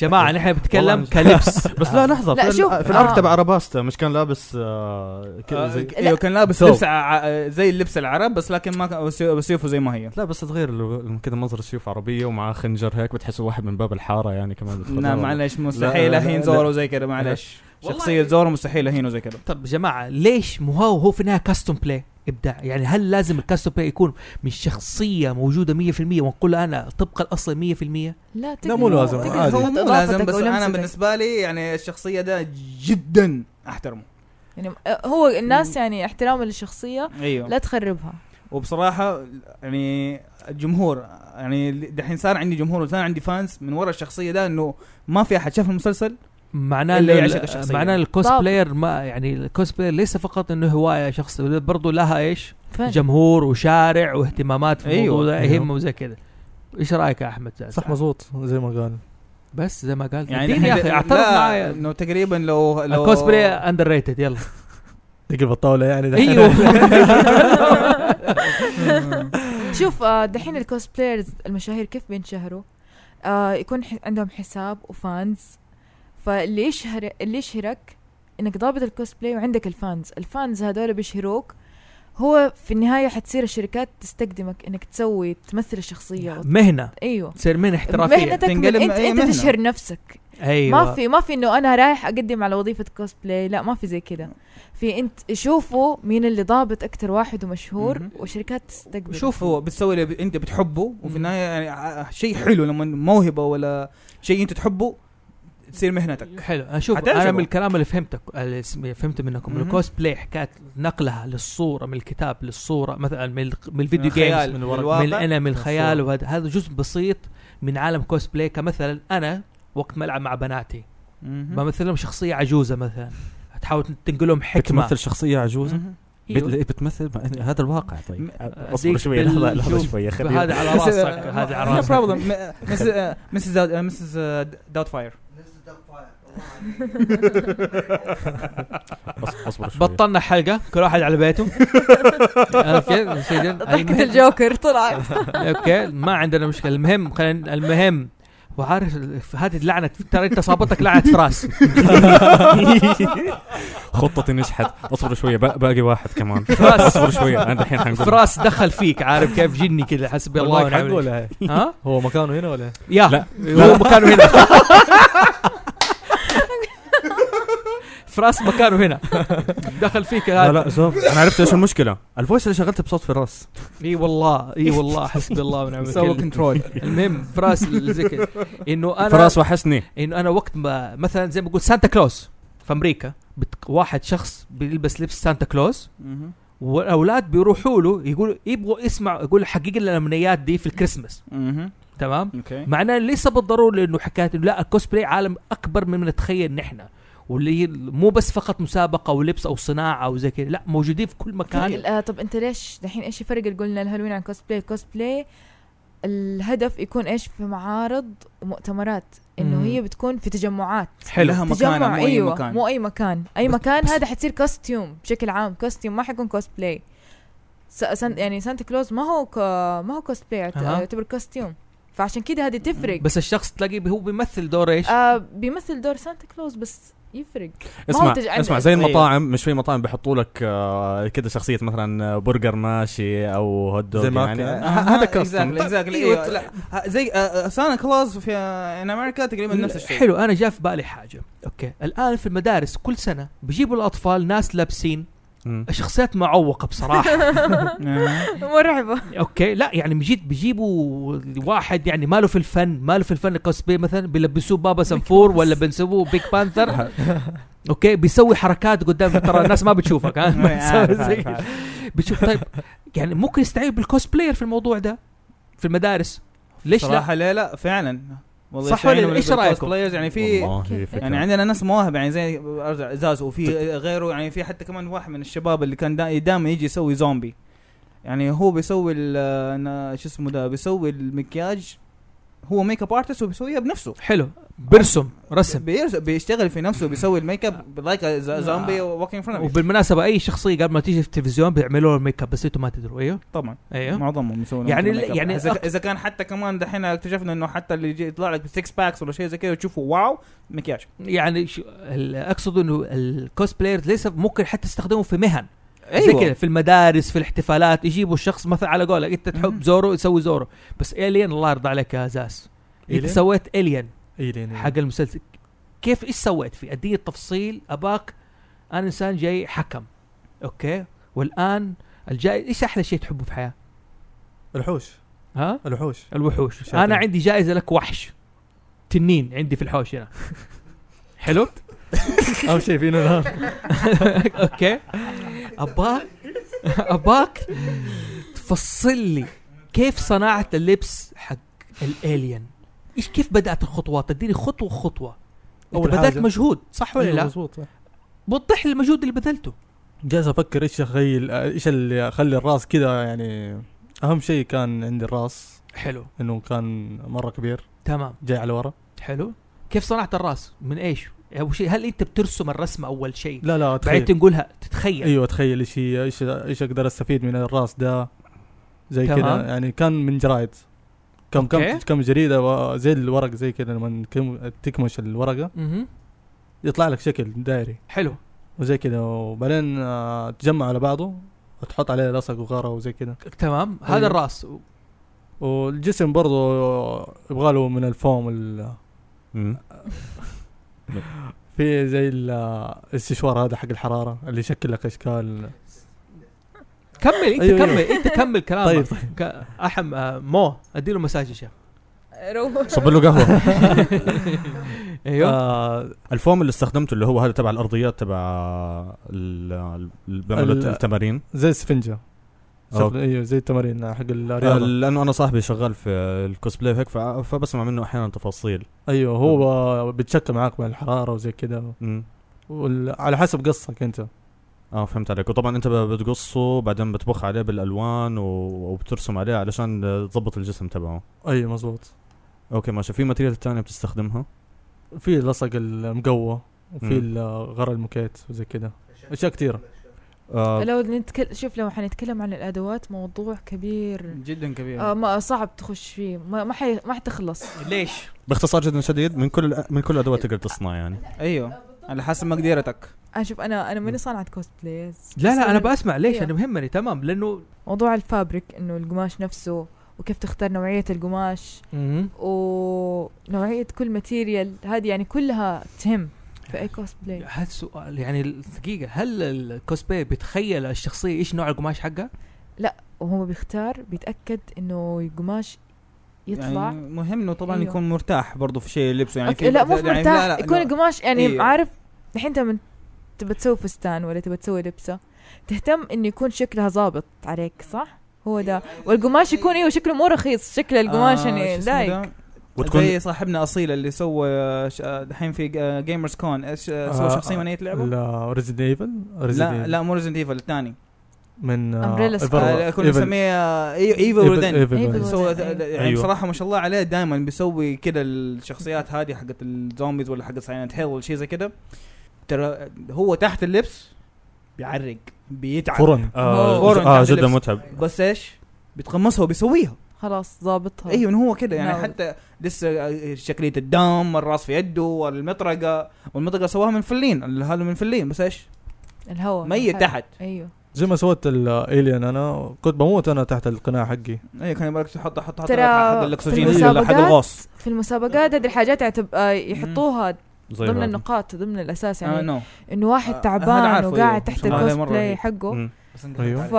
Speaker 4: جماعه نحن
Speaker 1: والله
Speaker 4: بنتكلم
Speaker 1: مش-
Speaker 4: كلبس
Speaker 1: بس لا لحظه
Speaker 2: لا،
Speaker 1: في,
Speaker 2: شوف،
Speaker 1: ال- في الارك
Speaker 2: آه.
Speaker 1: تبع راباستا مش كان لابس آه كذا زي
Speaker 3: ايوه كان لابس
Speaker 1: ثوب.
Speaker 3: لبس ع- ع- زي اللبس العرب بس لكن ما كان وسيو- سيوفه زي ما هي
Speaker 1: لا بس تغير ال- كذا منظر سيوف عربيه ومعاه خنجر هيك بتحسه واحد من باب الحاره يعني كمان بيدخل.
Speaker 3: لا معلش نعم، مستحيل
Speaker 1: لا،
Speaker 3: اهين
Speaker 1: لا. يعني
Speaker 3: زورو زي كذا معلش
Speaker 4: والله.
Speaker 3: شخصية زورو مستحيل اهينه زي كذا
Speaker 4: طب جماعه ليش مو هو هو في النهايه كاستوم بلاي ابداع يعني هل لازم الكاستوم بلاي يكون من شخصيه موجوده 100% ونقول انا طبق الاصل 100%
Speaker 2: لا
Speaker 5: لا، مو
Speaker 2: تقدر-
Speaker 5: لازم،
Speaker 2: تقدر
Speaker 5: عادي.
Speaker 3: هو
Speaker 2: تحط
Speaker 3: مو
Speaker 2: إضافتك
Speaker 3: لازم بس انا
Speaker 2: ولمستك.
Speaker 3: بالنسبة لي يعني الشخصية ده جدا احترمه
Speaker 2: يعني آه، هو الناس يعني احتراما للشخصيه
Speaker 3: ايوه
Speaker 2: لا تخربها
Speaker 3: وبصراحة يعني الجمهور يعني دحين صار عندي جمهور وصار عندي فانز من ورا الشخصية ده انه ما في احد شاف المسلسل
Speaker 4: معناه
Speaker 3: اللي
Speaker 4: ال-
Speaker 3: يعشق الشخصية.
Speaker 4: معناه الكوست
Speaker 2: طب.
Speaker 4: بلاير ما يعني الكوست بلاير ليس فقط انه هوايه شخص برضو لها ايش
Speaker 2: فن
Speaker 4: جمهور وشارع واهتمامات في الموضوع
Speaker 3: أيوة.
Speaker 4: ده
Speaker 5: أيوة.
Speaker 4: يهمه وزي كذا ايش رايك يا احمد زاز؟
Speaker 5: صح مزبوط زي ما قال
Speaker 4: بس زي ما قلت
Speaker 3: يعني
Speaker 4: يعني يا
Speaker 3: دحين-
Speaker 4: اخي
Speaker 3: لا،
Speaker 4: اعترف معايا
Speaker 3: انه تقريبا لو لو
Speaker 4: الكوست بلاي اندر ريتد يلا
Speaker 5: تقلب الطاوله يعني دحين.
Speaker 4: أيوة. ايوه
Speaker 2: شوف آه، دحين الكوسبلايرز المشاهير كيف بينشهروا آه، يكون ح- عندهم حساب وفانز فاللي يشهر اللي يشهرك انك ضابط الكوسبلاي وعندك الفانز الفانز هذول بيشهروك هو في النهاية حتصير الشركات تستخدمك انك تسوي تمثل الشخصية وت-
Speaker 4: مهنه
Speaker 2: ايوه
Speaker 4: تصير مهنه احترافيه
Speaker 2: مهنتك من
Speaker 3: يعني تنقلب-
Speaker 2: انت
Speaker 3: أي
Speaker 2: انت
Speaker 3: مهنة. أيوة.
Speaker 2: تشهر نفسك
Speaker 4: ايوه
Speaker 2: ما في ما في انه انا رايح اقدم على وظيفه كوسبلاي لا ما في زي كذا في انت شوفوا مين اللي ضابط اكثر واحد ومشهور
Speaker 3: مهم.
Speaker 2: وشركات تستقبل
Speaker 3: شوف هو بتسوي اللي ب- انت بتحبه وفي
Speaker 4: مم.
Speaker 3: النهايه يعني ع- شيء حلو لما موهبه ولا شيء انت تحبه تصير مهنتك
Speaker 4: حلو اشوف
Speaker 3: هتعجبه.
Speaker 4: انا من الكلام اللي فهمتك اللي سم- فهمت منكم
Speaker 3: مهم.
Speaker 4: الكوست بلاي حكايه نقلها للصوره من الكتاب للصوره مثلا من, الق- من الفيديو جيمز
Speaker 3: خيال،
Speaker 5: من ورق.
Speaker 3: الواقع.
Speaker 4: من انا من الخيال
Speaker 5: الصورة.
Speaker 4: وهذا هذا جزء بسيط من عالم كوست بلاي كمثلا انا وقت ما العب مع بناتي
Speaker 3: مهم.
Speaker 4: بمثل لهم شخصيه عجوزه مثلا تحاول تنقل لهم حكمه
Speaker 1: بتمثل شخصيه عجوزه
Speaker 3: مهم.
Speaker 4: أيوه.
Speaker 1: بت- بتمثل ما- هذا الواقع طيب
Speaker 3: م-
Speaker 1: اصبر شوي
Speaker 4: بال-
Speaker 1: لحظه لحظه
Speaker 4: شوف،
Speaker 1: شوي خلينا
Speaker 4: هذا على
Speaker 3: بس-
Speaker 4: راسك
Speaker 3: آه،
Speaker 4: هذا على
Speaker 3: no problem.
Speaker 4: راسك
Speaker 3: م- مسز آه، مسز داوت- آه، مسز آه، داوت فاير
Speaker 1: أص- اصبر شوي
Speaker 4: بطلنا حلقه كل واحد على بيته اوكي نسجل.
Speaker 2: ضحكة الجوكر طلعت
Speaker 4: اوكي ما عندنا مشكله المهم خلينا المهم وعارف ال- هذه اللعنه ترى انت صابتك لعنه فراس
Speaker 1: خطتي نجحت اصبر شويه بق- باقي واحد كمان
Speaker 4: فراس.
Speaker 1: اصبر شويه انا الحين حنقول
Speaker 4: فراس دخل فيك عارف كيف جني كذا حسبي الله
Speaker 5: والله حق
Speaker 4: ونعم الوكيل.
Speaker 5: ولا هي؟
Speaker 4: ها
Speaker 5: هو مكانه هنا ولا إيه؟ هي؟
Speaker 4: يا
Speaker 1: لا.
Speaker 4: هو مكانه هنا فراس مكانه هنا دخل فيك
Speaker 1: لا
Speaker 4: هذا
Speaker 1: لا شوف انا عرفت ايش المشكله الفويس اللي شغلته بصوت فراس
Speaker 4: اي والله اي والله حسبي الله ونعم
Speaker 3: سوى
Speaker 4: الوكيل
Speaker 3: كنترول
Speaker 4: المهم فراس اللي زي كذا انه انا
Speaker 1: فراس وحشني
Speaker 4: انه انا وقت ما مثلا زي ما بقول سانتا كلوز في امريكا بت... واحد شخص بيلبس لبس سانتا كلوز والاولاد بيروحوا له يقولوا يبغوا يسمع يقول حقق لنا الامنيات دي في الكريسماس تمام
Speaker 3: اوكي
Speaker 4: معناه ليس بالضروره انه حكايه إنه لا الكوسبلاي عالم اكبر مما نتخيل نحن واللي هي مو بس فقط مسابقه ولبس او صناعه او زي كذا لا موجودين في كل مكان
Speaker 2: آه، طب انت ليش دحين ايش يفرق اللي قلنا الهالوين عن كوسبلاي كوسبلاي الهدف يكون ايش في معارض ومؤتمرات انه
Speaker 4: مم. آه،
Speaker 2: هي بتكون في تجمعات
Speaker 4: حلو
Speaker 3: لها مكانه مو اي
Speaker 2: أيوة
Speaker 3: مكان
Speaker 2: مو اي مكان اي
Speaker 4: بس-
Speaker 2: مكان
Speaker 4: بس-
Speaker 2: هذا حتصير كوستيوم بشكل عام كوستيوم ما حيكون كوسبلاي س- سن يعني سانتا كلوز ما هو ك... ما هو كوسبلاي يعت-
Speaker 4: أها.
Speaker 2: يعتبر كوستيوم فعشان كده هذه تفرق
Speaker 4: بس الشخص تلاقيه هو بيمثل دور ايش؟
Speaker 2: آه بيمثل دور سانتا كلوز بس يفرق ما هو
Speaker 1: اسمع
Speaker 2: تج-
Speaker 1: اسمع
Speaker 5: إيه.
Speaker 1: زي المطاعم مش في مطاعم بيحطوا لك آه، كده شخصيه مثلا برجر ماشي او هوت دوج
Speaker 5: زي ما
Speaker 1: يعني
Speaker 5: كان.
Speaker 1: آه، هذا كاستم
Speaker 3: اكزاكتلي طيب، أيوة، لا ه- زي آه، سانا كلاوز في آه، ان امريكا تقريبا نفس الشيء
Speaker 4: حلو انا جاء في بالي حاجه اوكي الان في المدارس كل سنه بيجيبوا الاطفال ناس لابسين
Speaker 1: مم.
Speaker 4: شخصيات معوقه بصراحه
Speaker 3: آه.
Speaker 2: مرعبة
Speaker 4: اوكي لا يعني بجيت بيجيبوا واحد يعني ماله في الفن ماله في الفن الكوسبلاي مثلا بيلبسوه بابا سنفور ولا بيلبسوه بيك بانثر اوكي بيسوي حركات قدام ترى الناس ما بتشوفك
Speaker 3: آه،
Speaker 4: ها ما
Speaker 3: عارف،
Speaker 4: تسوي زي
Speaker 3: عارف،
Speaker 4: كده.
Speaker 3: عارف.
Speaker 4: بتشوف طيب يعني ممكن يستعين بالكوسبلاير في الموضوع ده في المدارس ليش لا
Speaker 3: صراحه لا لا فعلا والله
Speaker 4: صح ولا
Speaker 3: يستعينوا
Speaker 4: لا؟ إيش
Speaker 3: بالبلاي
Speaker 4: رأيكم؟
Speaker 3: بلايرز، يعني في
Speaker 1: والله فكرة. طيب.
Speaker 3: يعني عندنا ناس مواهب يعني زي ارجع زازو وفي غيره يعني في حتى كمان واحد من الشباب اللي كان دا- دائما يجي يسوي زومبي يعني هو بيسوي ال- أنا شو اسمه ده بيسوي المكياج هو ميك اب ارتست وبيسويها بنفسه
Speaker 4: حلو برسم رسم نعم.
Speaker 3: بيرس- بيشتغل في نفسه بيسوي الميك اب لايك زومبي ووكينج فرونت
Speaker 4: وبالمناسبه اي شخصيه قبل ما تيجي في التلفزيون بيعملوا لها ميك اب بس انتم ما تدروا ايوه
Speaker 3: طبعا
Speaker 4: ايوه
Speaker 3: معظمهم يسوون
Speaker 4: يعني-
Speaker 3: ميك أب.
Speaker 4: يعني
Speaker 3: اذا
Speaker 4: أك-
Speaker 3: إذا كان حتى كمان دحين اكتشفنا انه حتى اللي يجي يطلع لك 6 باكس ولا شيء زي كذا وتشوفوا واو مكياج
Speaker 4: يعني شو- ال- اقصد انه الكوسبلايرز ليس ممكن حتى تستخدمه في مهن
Speaker 3: أيوة.
Speaker 4: زي كذا في المدارس في الاحتفالات يجيبوا الشخص مثلا على قولك انت تحب
Speaker 3: مم.
Speaker 4: زورو يسوي زورو بس الين الله يرضى عليك يا زاس انت
Speaker 5: إيلين؟
Speaker 4: سويت الين
Speaker 5: اي لين
Speaker 4: حق المسلسل كيف ايش سويت فيه؟ اديني التفصيل اباك انا انسان جاي حكم اوكي والان الجاي ايش احلى شيء تحبه في الحياه؟
Speaker 5: الوحوش
Speaker 4: ها؟
Speaker 5: الوحوش
Speaker 4: الوحوش
Speaker 5: شاطر.
Speaker 4: انا عندي جائزه لك وحش تنين عندي في الحوش هنا حلو؟
Speaker 5: اهم شيء فينا نهار
Speaker 4: اوكي اباك اباك تفصل لي كيف صناعه اللبس حق الالين ايش كيف بدات الخطوات تديني خطوه خطوه أنت
Speaker 5: أول
Speaker 4: بدات
Speaker 5: حاجة.
Speaker 4: مجهود صح ولا لا
Speaker 5: مضبوط
Speaker 4: وضح لي المجهود اللي بذلته
Speaker 5: جالس افكر ايش اخيل ايش اللي اخلي الراس كذا يعني اهم شيء كان عندي الراس
Speaker 4: حلو
Speaker 5: انه كان مره كبير
Speaker 4: تمام
Speaker 5: جاي على ورا
Speaker 4: حلو كيف صنعت الراس من ايش اول شيء هل انت بترسم الرسمه اول شيء
Speaker 5: لا لا
Speaker 4: بعدين
Speaker 5: اتخيل
Speaker 4: تنقلها تتخيل
Speaker 5: ايوه اتخيل ايش هي ايش ايش اقدر استفيد من الراس ده زي
Speaker 4: تمام.
Speaker 5: كذا يعني كان من جرايد كم كم
Speaker 4: أوكي.
Speaker 5: كم جريده و- زي الورق زي كذا لما كم- تكمش الورقه
Speaker 4: مهم.
Speaker 5: يطلع لك شكل دائري
Speaker 4: حلو
Speaker 5: وزي كذا وبعدين آه، تجمع على بعضه وتحط عليه لصق وغاره وزي كذا
Speaker 4: تمام هذا
Speaker 5: أيوه.
Speaker 4: الراس
Speaker 5: والجسم برضه يبغى له من الفوم ال-
Speaker 1: مم.
Speaker 5: في زي ال- آه، الاستشوار هذا حق الحراره اللي يشكل لك اشكال
Speaker 4: كمل انت
Speaker 5: أيوه،
Speaker 4: كمل انت كمل كلامك
Speaker 5: طيب،
Speaker 4: طيب احم آه، مو اديله مساج يا شيخ
Speaker 2: روح
Speaker 1: صب له قهوه
Speaker 4: ايوه
Speaker 5: آه
Speaker 1: الفوم اللي استخدمته اللي هو هذا تبع الارضيات تبع آه، ال- ال- اللي
Speaker 5: ال-
Speaker 1: بيعملوا التمارين
Speaker 5: زي السفنجه
Speaker 1: أوكي.
Speaker 5: ايوه زي التمارين حق
Speaker 1: آه،
Speaker 5: الرياضه
Speaker 1: لانه انا صاحبي شغال في الكوسبلاي هيك فع- فبسمع منه احيانا تفاصيل
Speaker 5: ايوه هو بيتشكى معاك من الحراره وزي كذا
Speaker 1: مم.
Speaker 5: وال- على حسب قصك انت
Speaker 1: اه فهمت عليك وطبعا انت ب- بتقصه بعدين بتبخ عليه بالالوان و- وبترسم عليه علشان آه، تظبط الجسم تبعه
Speaker 5: ايوه مزبوط
Speaker 1: اوكي ماشي في ماتيريال تانية بتستخدمها
Speaker 5: في اللصق المقوى
Speaker 1: مم.
Speaker 5: وفي الغر المكيت وزي كذا اشياء كثيره
Speaker 1: آه
Speaker 2: لو نتكلم شوف لو حنتكلم عن الادوات موضوع كبير
Speaker 3: جدا كبير
Speaker 2: آه ما صعب تخش فيه ما ما, حي... ما حتخلص
Speaker 4: ليش؟
Speaker 1: باختصار جدا شديد من كل من كل الادوات تقدر تصنع يعني
Speaker 3: ايوه على حسب مقدرتك
Speaker 2: انا شوف انا انا ماني صانعه كوست بلايز
Speaker 4: لا لا انا بسمع ليش
Speaker 2: أيوه.
Speaker 4: انا مهمني تمام لانه
Speaker 2: موضوع الفابريك انه القماش نفسه وكيف تختار نوعيه القماش ونوعيه كل ماتيريال هذه يعني كلها تهم في اي كوست بلاي
Speaker 4: هالسؤال يعني دقيقه هل الكوسبلاي بيتخيل الشخصيه ايش نوع القماش حقها؟
Speaker 2: وهو بيختار بيتاكد انه القماش يطلع
Speaker 3: يعني مهم انه طبعا
Speaker 2: أيوه.
Speaker 3: يكون مرتاح برضه في الشيء اللي لبسه يعني
Speaker 2: اوكي لا مو
Speaker 3: يعني
Speaker 2: مرتاح
Speaker 3: لا- لا-
Speaker 2: يكون
Speaker 3: لا.
Speaker 2: القماش يعني
Speaker 3: إيه.
Speaker 2: عارف الحين انت من تبى تسوي فستان ولا تبى تسوي لبسه تهتم انه يكون شكلها ظابط عليك صح؟ هو ده
Speaker 3: إيه،
Speaker 2: والقماش يكون ايوه شكله مو رخيص شكل
Speaker 3: آه،
Speaker 2: القماش يعني
Speaker 3: شو اسمه
Speaker 2: لايق
Speaker 3: ده؟
Speaker 1: وتكون
Speaker 3: زي صاحبنا اصيل اللي سوى آه، ش- آه، دحين في جيمرز كون ايش آه، سوى
Speaker 5: آه،
Speaker 3: شخصيه من اي لعبه؟
Speaker 5: ريزيدنت ايفل
Speaker 3: لا لا مو ريزنت ايفل الثاني
Speaker 5: من
Speaker 2: Umbrella Sky.
Speaker 3: آه، كنا نسميه آه، إي- ايفل وذن
Speaker 2: Evil.
Speaker 5: ايفل
Speaker 3: سوى
Speaker 2: Within.
Speaker 3: يعني
Speaker 1: أيوه.
Speaker 3: بصراحه ما شاء الله عليه دائما بيسوي كده الشخصيات هذه حقت الزومبيز ولا حقت سايلنت هيل ولا شيء زي كده ترى هو تحت اللبس بيعرق بيتعب
Speaker 5: فرن
Speaker 1: آه,
Speaker 3: فوراً
Speaker 1: آه
Speaker 3: تحت
Speaker 1: جدا
Speaker 3: اللبس.
Speaker 1: متعب
Speaker 3: بس ايش؟ بيتقمصها وبيسويها
Speaker 2: خلاص ظابطها
Speaker 3: ايوه إن هو كده يعني
Speaker 2: طيب. نعم.
Speaker 3: حتى لسه شكليه الدم الراس في يده والمطرقه والمطرقه سواها من فلين هذا من فلين بس ايش؟
Speaker 2: الهواء
Speaker 3: ميت تحت
Speaker 2: ايوه
Speaker 5: زي ما سويت الالين انا كنت بموت انا تحت القناع حقي
Speaker 3: ايوه كان يبغى يحط حط حط
Speaker 2: ترى
Speaker 3: حق
Speaker 2: في
Speaker 1: أيوه،
Speaker 3: الاكسجين ولا حق
Speaker 2: المسابقات-
Speaker 3: الغاص
Speaker 2: في المسابقات هذه الحاجات يعتب... آه، يحطوها
Speaker 1: زي
Speaker 2: ضمن
Speaker 1: هذا.
Speaker 2: النقاط ضمن الاساس
Speaker 3: آه،
Speaker 2: يعني
Speaker 3: نو
Speaker 2: انه
Speaker 3: آه،
Speaker 2: واحد
Speaker 3: هذا
Speaker 2: تعبان
Speaker 3: عارفه، أيوه.
Speaker 2: وقاعد تحت
Speaker 3: شفنا عليه
Speaker 2: الكوست
Speaker 3: مرة
Speaker 2: بلاي
Speaker 3: هي.
Speaker 2: حقه
Speaker 1: مم.
Speaker 5: ايوه
Speaker 2: ف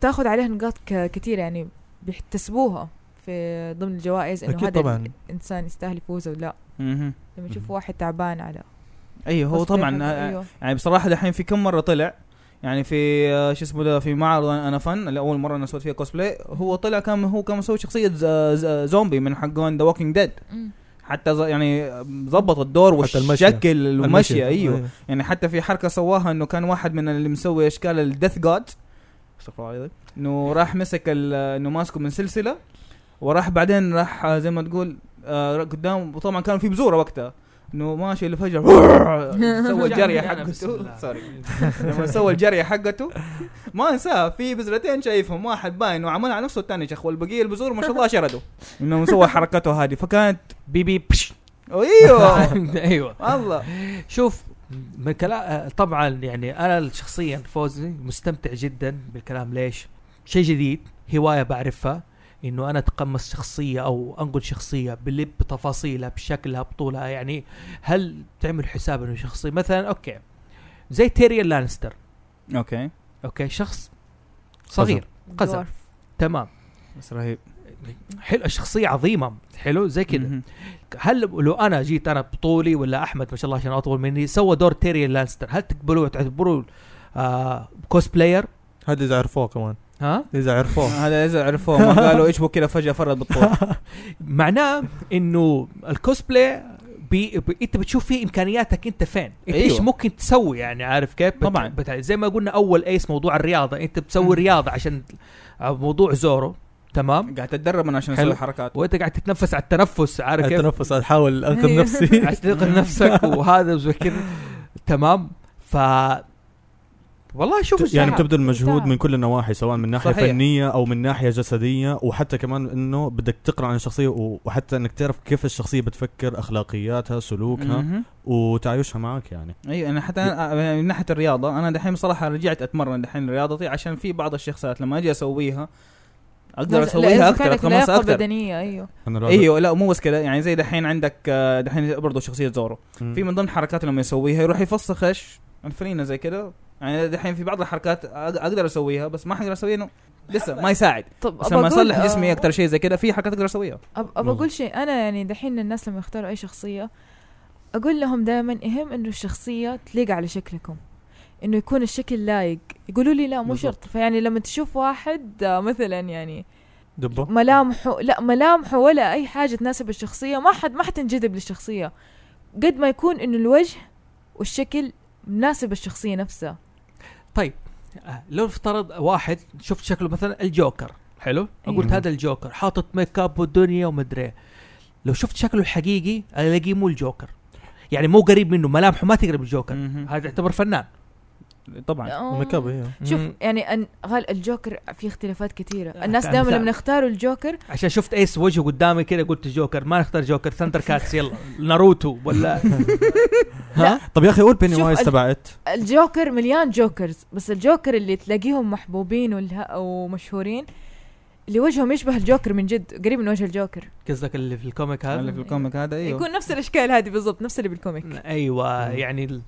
Speaker 2: تاخذ عليها نقاط ك- كتير يعني بيحتسبوها في ضمن الجوائز انه
Speaker 5: اكيد
Speaker 2: هذا
Speaker 5: طبعا
Speaker 2: الانسان يستاهل يفوز ولا لا
Speaker 3: مهم.
Speaker 2: لما يشوف
Speaker 1: مهم.
Speaker 2: واحد تعبان على
Speaker 3: ايوه هو
Speaker 2: cosplay
Speaker 3: طبعا
Speaker 2: حقه،
Speaker 3: آه،
Speaker 2: أيوه.
Speaker 3: يعني بصراحه دحين في كم مره طلع يعني في آه، شو اسمه ده في معرض انا فن اللي اول مره انا سويت فيها كوسبلاي هو طلع كان هو كان مسوي شخصيه ز- ز- زومبي من حقون ذا ووكينج ديد
Speaker 2: مم.
Speaker 3: حتى ز- يعني ظبط الدور
Speaker 5: حتى
Speaker 3: والشكل
Speaker 5: المشية.
Speaker 3: والمشية ايوه
Speaker 5: أيوة.
Speaker 3: يعني حتى في حركه سواها انه كان واحد من اللي مسوي اشكال الديث جاد استغفر الله العظيم انه راح مسك ال- انه ماسكه من سلسله وراح بعدين راح آه، زي ما تقول آه قدام وطبعا كان في بزوره وقتها انه ماشي اللي فجاه سوى الجريه
Speaker 4: أنا بسم
Speaker 3: حقته
Speaker 4: الله.
Speaker 3: سوري لما سوى الجريه حقته ما انساها في بذرتين شايفهم واحد باين وعمل على نفسه الثاني شخ والبقيه البذور ما شاء الله شردوا انه سوى حركته هذه فكانت
Speaker 4: بي بي بش
Speaker 3: ايوه
Speaker 4: ايوه
Speaker 3: والله
Speaker 4: شوف من كلام طبعا يعني انا شخصيا فوزي مستمتع جدا بالكلام ليش؟ شيء جديد هوايه بعرفها انه انا اتقمص شخصيه او انقل شخصيه بلب بتفاصيلها بشكلها بطولها يعني هل تعمل حساب انه شخصيه مثلا اوكي زي تيريان لانستر
Speaker 3: اوكي
Speaker 4: اوكي شخص صغير قزم
Speaker 2: دورف.
Speaker 4: تمام
Speaker 3: بس رهيب
Speaker 4: حلو الشخصيه عظيمه حلو زي كذا
Speaker 3: مهم.
Speaker 4: هل لو انا جيت انا بطولي ولا احمد ما شاء الله عشان اطول مني سوى دور تيريان لانستر هل تقبلوه تعتبروه آه كوس بلاير؟
Speaker 5: هذا اذا عرفوه كمان
Speaker 4: ها؟
Speaker 5: اذا عرفوه
Speaker 3: هذا اذا عرفوه ما قالوا ايش بو كذا فجاه فرد بالطول
Speaker 4: معناه انه الكوسبلاي بي بي انت بتشوف فيه امكانياتك انت فين؟ انت ايش
Speaker 3: أيوة.
Speaker 4: ممكن تسوي يعني عارف كيف؟ بت-
Speaker 3: طبعاً.
Speaker 4: بت... زي ما قلنا اول ايس موضوع الرياضه انت
Speaker 3: مم.
Speaker 4: بتسوي رياضه عشان آه، موضوع زورو تمام؟
Speaker 3: قاعد اتدرب انا عشان
Speaker 4: حلو.
Speaker 3: اسوي حركات
Speaker 4: وانت قاعد تتنفس على التنفس عارف كيف؟
Speaker 5: التنفس احاول انقذ
Speaker 2: أيوة.
Speaker 5: نفسي
Speaker 4: عشان تنقذ نفسك وهذا وزي كذا تمام ف والله شوف
Speaker 1: يعني
Speaker 2: تعب.
Speaker 1: بتبذل مجهود
Speaker 2: تعب.
Speaker 1: من كل النواحي سواء من ناحيه
Speaker 3: صحيح.
Speaker 1: صحيح. فنيه او من ناحيه جسديه وحتى كمان انه بدك تقرا عن الشخصيه و- وحتى انك تعرف كيف الشخصيه بتفكر اخلاقياتها سلوكها
Speaker 3: مهم.
Speaker 1: وتعايشها معك يعني
Speaker 3: ايوه انا حتى أنا أنا من ناحيه الرياضه انا دحين بصراحه رجعت اتمرن دحين رياضتي عشان في بعض الشخصيات لما اجي اسويها اقدر
Speaker 2: لا،
Speaker 3: اسويها
Speaker 2: إذا
Speaker 3: اكثر
Speaker 2: كانت
Speaker 3: اتقمصها
Speaker 2: لياقة
Speaker 3: اكثر
Speaker 2: بدنيه ايوه
Speaker 1: انا لو
Speaker 3: ايوه لا مو بس كذا يعني زي دحين عندك آه، دحين برضه شخصيه زورو
Speaker 1: مم.
Speaker 3: في من ضمن حركات لما يسويها يروح يفسخ ايش الفنينه زي كده يعني دحين في بعض الحركات أق- اقدر اسويها بس ما حقدر اسويها إنه لسه ما يساعد
Speaker 2: طب
Speaker 3: بس
Speaker 2: أبى
Speaker 3: لما
Speaker 2: أقول-
Speaker 3: اصلح جسمي
Speaker 2: آه،
Speaker 3: اكثر شيء زي كده في حركات اقدر اسويها
Speaker 2: أب أبى
Speaker 1: مظبوط.
Speaker 2: اقول شيء انا يعني دحين الناس لما يختاروا اي شخصيه اقول لهم دائما اهم انه الشخصيه تليق على شكلكم انه يكون الشكل لايق يقولوا لي لا مو
Speaker 5: بالضبط.
Speaker 2: شرط فيعني لما تشوف واحد آه، مثلا يعني
Speaker 5: دبه
Speaker 2: ملامحه لا ملامحه ولا اي حاجه تناسب الشخصيه ما حد ما حتنجذب للشخصيه قد ما يكون انه الوجه والشكل مناسب الشخصيه نفسها
Speaker 4: طيب آه، لو افترض واحد شفت شكله مثلا الجوكر حلو قلت
Speaker 1: أيوه.
Speaker 4: هذا الجوكر حاطط ميك اب والدنيا ومدري إيه. لو شفت شكله الحقيقي الاقيه مو الجوكر يعني مو قريب منه ملامحه ما تقرب الجوكر
Speaker 3: مهم.
Speaker 4: هذا يعتبر فنان
Speaker 3: طبعا
Speaker 5: ميك اب ايوه
Speaker 2: شوف
Speaker 4: مم.
Speaker 2: يعني أن غال الجوكر في اختلافات كثيره
Speaker 4: آه،
Speaker 2: الناس دائما
Speaker 4: كمثال.
Speaker 2: لما يختاروا الجوكر
Speaker 4: عشان شفت ايس وجهه قدامي كذا قلت جوكر ما نختار جوكر ثندر كاتس يلا ناروتو ولا
Speaker 1: طب يا اخي قول بيني
Speaker 2: شوف
Speaker 1: وايز
Speaker 2: ال-
Speaker 1: تبعت
Speaker 2: الجوكر مليان جوكرز بس الجوكر اللي تلاقيهم محبوبين والها- ومشهورين اللي وجههم يشبه الجوكر من جد قريب من وجه الجوكر
Speaker 4: قصدك اللي في الكوميك
Speaker 3: اللي
Speaker 4: هذا
Speaker 3: في الكوميك هذا ايوه
Speaker 2: يكون نفس الاشكال هذه بالضبط نفس اللي بالكوميك
Speaker 4: ايوه
Speaker 5: مم.
Speaker 4: يعني ال-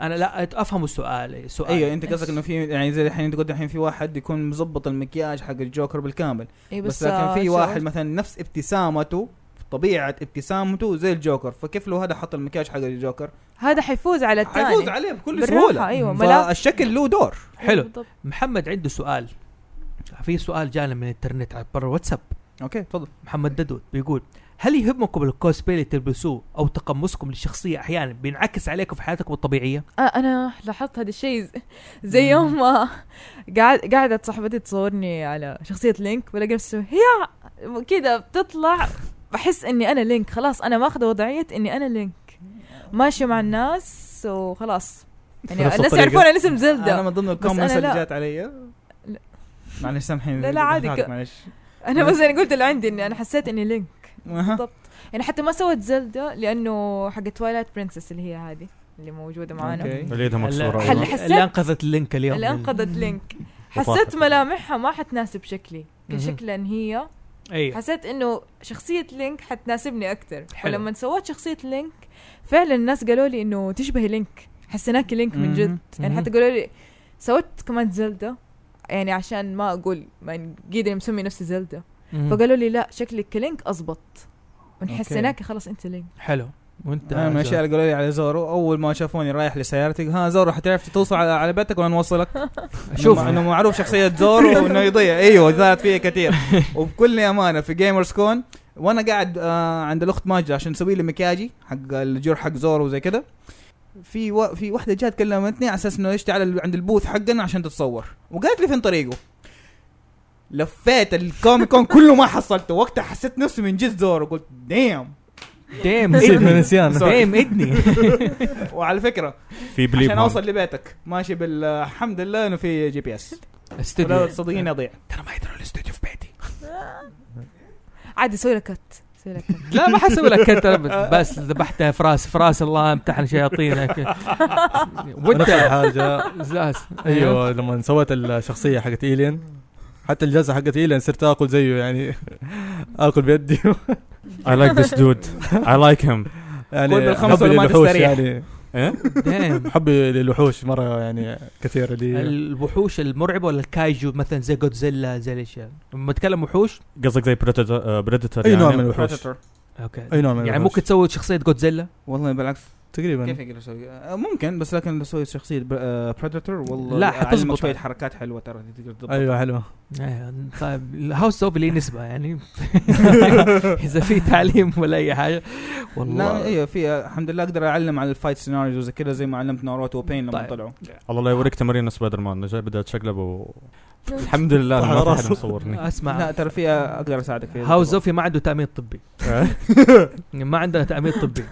Speaker 4: انا لا افهم السؤال سؤال
Speaker 3: ايوه انت قصدك انه في يعني زي الحين انت قلت الحين في واحد يكون مظبط المكياج حق الجوكر بالكامل
Speaker 2: اي
Speaker 3: بس,
Speaker 2: بس,
Speaker 3: لكن
Speaker 2: آه،
Speaker 3: في
Speaker 2: شو-
Speaker 3: واحد مثلا نفس ابتسامته طبيعه ابتسامته زي الجوكر فكيف لو هذا حط المكياج حق الجوكر
Speaker 2: هذا حيفوز على الثاني
Speaker 3: حيفوز عليه بكل
Speaker 2: بالراحة،
Speaker 3: سهوله
Speaker 2: أيوة، ملاك.
Speaker 3: فالشكل له دور
Speaker 4: حلو.
Speaker 2: بالضبط.
Speaker 4: محمد عنده سؤال في سؤال جانا من الانترنت عبر واتساب
Speaker 3: اوكي تفضل
Speaker 4: محمد ددود بيقول هل يهمكم الكوسبلاي اللي تلبسوه او تقمصكم للشخصيه احيانا بينعكس عليكم في حياتكم الطبيعيه؟
Speaker 2: آه، انا لاحظت هذا الشيء ز- زي يوم ما قاعد قاعده صاحبتي تصورني على شخصيه لينك ولا نفسي هي كذا بتطلع بحس اني انا لينك خلاص انا ماخذه وضعيه اني انا لينك ماشيه مع الناس وخلاص يعني
Speaker 1: نفس
Speaker 2: الناس
Speaker 1: الطريقة.
Speaker 2: يعرفون انا اسم
Speaker 3: انا
Speaker 2: زلدة
Speaker 3: من ضمن الكومنتس
Speaker 2: أنا
Speaker 3: اللي
Speaker 2: لا.
Speaker 3: جات علي
Speaker 2: لا.
Speaker 3: معلش سامحيني
Speaker 2: لا، لا، عادي
Speaker 3: قطعتك،
Speaker 2: ك-
Speaker 3: معلش
Speaker 2: انا مثلا قلت اللي عندي اني انا حسيت اني لينك
Speaker 3: أها.
Speaker 2: بالضبط يعني حتى ما سوت زلدة لانه حق توايلايت برنسس اللي هي هذه اللي موجوده معانا
Speaker 3: أوكي.
Speaker 1: اللي يدها مكسوره
Speaker 2: حل-
Speaker 1: أيوة.
Speaker 2: حل- حسيت-
Speaker 4: اللي انقذت لينك اليوم
Speaker 2: اللي انقذت لينك
Speaker 1: وطاحت.
Speaker 2: حسيت ملامحها ما حتناسب شكلي
Speaker 4: مهم.
Speaker 2: كشكلا هي
Speaker 4: ايوه
Speaker 2: حسيت انه شخصية لينك حتناسبني اكثر
Speaker 4: حلو.
Speaker 2: ولما سويت شخصية لينك فعلا الناس قالوا لي انه تشبهي لينك حسيناكي لينك من جد
Speaker 3: مهم.
Speaker 2: يعني
Speaker 4: مهم.
Speaker 2: حتى قالوا لي سويت كمان زلدة يعني عشان ما اقول ما قيد اني مسمي نفسي زلدة
Speaker 4: مم.
Speaker 2: فقالوا لي لا شكلك كلينك اضبط من حسيناكي خلاص انت لينك
Speaker 4: حلو وانت
Speaker 3: انا من الاشياء اللي آه، قالوا لي على زورو اول ما شافوني رايح لسيارتي ها زورو حتعرف توصل على- على بيتك ولا نوصلك
Speaker 4: شوف
Speaker 3: انه معروف شخصيه زورو وانه يضيع ايوه ظهرت فيها كثير وبكل امانه في جيمرز كون وانا قاعد آه عند الاخت ماجده عشان اسوي لي مكياجي حق الجور حق زورو وزي كده في و... في واحده جات كلمتني على اساس انه ايش تعال ال- عند البوث حقنا عشان تتصور وقالت لي فين طريقه لفيت الكوميك كون كله ما حصلته وقتها حسيت نفسي من جد زورو قلت ديم
Speaker 4: ديم
Speaker 5: نسيت من
Speaker 4: ادني
Speaker 5: نسيان
Speaker 4: ديم ادني
Speaker 3: وعلى فكره
Speaker 1: في بليب
Speaker 3: عشان
Speaker 1: هون.
Speaker 3: اوصل لبيتك ماشي بالحمد لله انه في جي بي اس
Speaker 4: استوديو
Speaker 3: ولو صدقيني اضيع
Speaker 4: ترى ما يدروا الاستوديو في بيتي
Speaker 2: عادي سوي لك كت سوي لك كت
Speaker 4: لا ما حسوي لك كت أبد. بس ذبحتها فراس فراس الله امتحن شياطينك
Speaker 5: نفس
Speaker 4: وانت
Speaker 5: الحاجه
Speaker 4: زاز أيوه.
Speaker 3: أيوه.
Speaker 5: ايوه لما سويت الشخصيه حقت الين حتى الجلسه حقت الين صرت اكل زيه يعني اكل بيدي
Speaker 1: I like this dude I like him إيه؟
Speaker 5: يعني
Speaker 3: كل الخمسة
Speaker 5: حبي
Speaker 3: لما
Speaker 5: للوحوش
Speaker 3: تستريح.
Speaker 5: يعني
Speaker 4: ديم
Speaker 5: حبي للوحوش مره يعني كثير دي
Speaker 4: الوحوش المرعبه ولا الكايجو مثلا زي جودزيلا زي الاشياء لما اتكلم وحوش
Speaker 1: قصدك زي بريدتر
Speaker 5: أي
Speaker 1: يعني
Speaker 5: نوع من الوحوش.
Speaker 3: Predator.
Speaker 4: اوكي
Speaker 5: اي نوع من
Speaker 4: يعني
Speaker 5: الوحوش.
Speaker 4: ممكن تسوي شخصيه جودزيلا
Speaker 3: والله بالعكس كيف
Speaker 5: تقريبا
Speaker 3: اقدر اسوي؟ آه، ممكن بس لكن لو اسوي شخصيه بريدتور آه، والله
Speaker 4: لا،
Speaker 3: أعلمك
Speaker 4: حتظبط.
Speaker 3: شويه حركات حلوه ترى تقدر تضبط
Speaker 5: ايوه حلوه
Speaker 4: آه، طيب الهاوس اوف ليه نسبه يعني اذا في تعليم ولا اي حاجه
Speaker 3: لا
Speaker 4: والله
Speaker 3: ايوه في آه، الحمد لله اقدر اعلم على الفايت سيناريوز وزي كذا زي ما علمت ناروتو وبين لما
Speaker 4: طيب.
Speaker 3: طلعوا
Speaker 1: الله لا يوريك تمرين سبايدر مان أنا جاي بدي اتشقلب و... الحمد لله إنه ما في حد مصورني
Speaker 3: لا
Speaker 4: اسمع
Speaker 3: ترى في آه، اقدر اساعدك فيها
Speaker 4: هاوس اوفي ما عنده تامين طبي
Speaker 1: آه.
Speaker 4: ما عندنا تامين طبي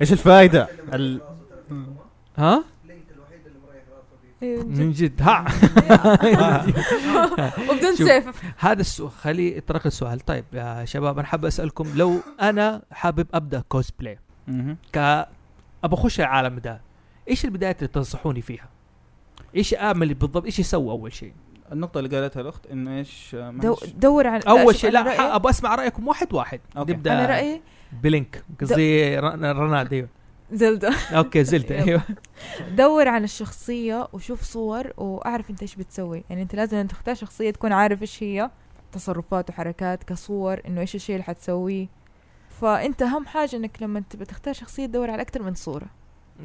Speaker 1: ايش الفائده؟ ال...
Speaker 4: ها
Speaker 2: إيه.
Speaker 4: من جد ها
Speaker 2: وبدون
Speaker 4: شوف.
Speaker 2: سيف
Speaker 4: هذا السؤال خلي اترك السؤال طيب يا شباب انا حاب اسالكم لو انا حابب ابدا كوسبلاي
Speaker 3: مهم.
Speaker 4: ك ابى اخش العالم ده ايش البدايات اللي تنصحوني فيها؟ ايش اعمل بالضبط؟ ايش اسوي اول شيء؟
Speaker 3: النقطه اللي قالتها الاخت ان ايش آه، ما
Speaker 2: دو
Speaker 3: إيش-
Speaker 2: دور على
Speaker 4: اول
Speaker 2: أشوف
Speaker 4: شيء
Speaker 2: أنا
Speaker 4: لا
Speaker 2: رأيي-
Speaker 4: ح- ابغى اسمع رايكم واحد واحد
Speaker 3: أوكي.
Speaker 2: انا
Speaker 4: نبدا
Speaker 2: رايي
Speaker 4: بلينك قصدي رن- رناد ايوه
Speaker 2: زلدة
Speaker 4: اوكي زلت ايوه
Speaker 2: دور على الشخصية وشوف صور وأعرف أنت إيش بتسوي يعني أنت لازم أن تختار شخصية تكون عارف إيش هي تصرفات وحركات كصور إنه إيش الشيء اللي حتسويه فأنت أهم حاجة إنك لما تبي تختار شخصية تدور على أكثر من صورة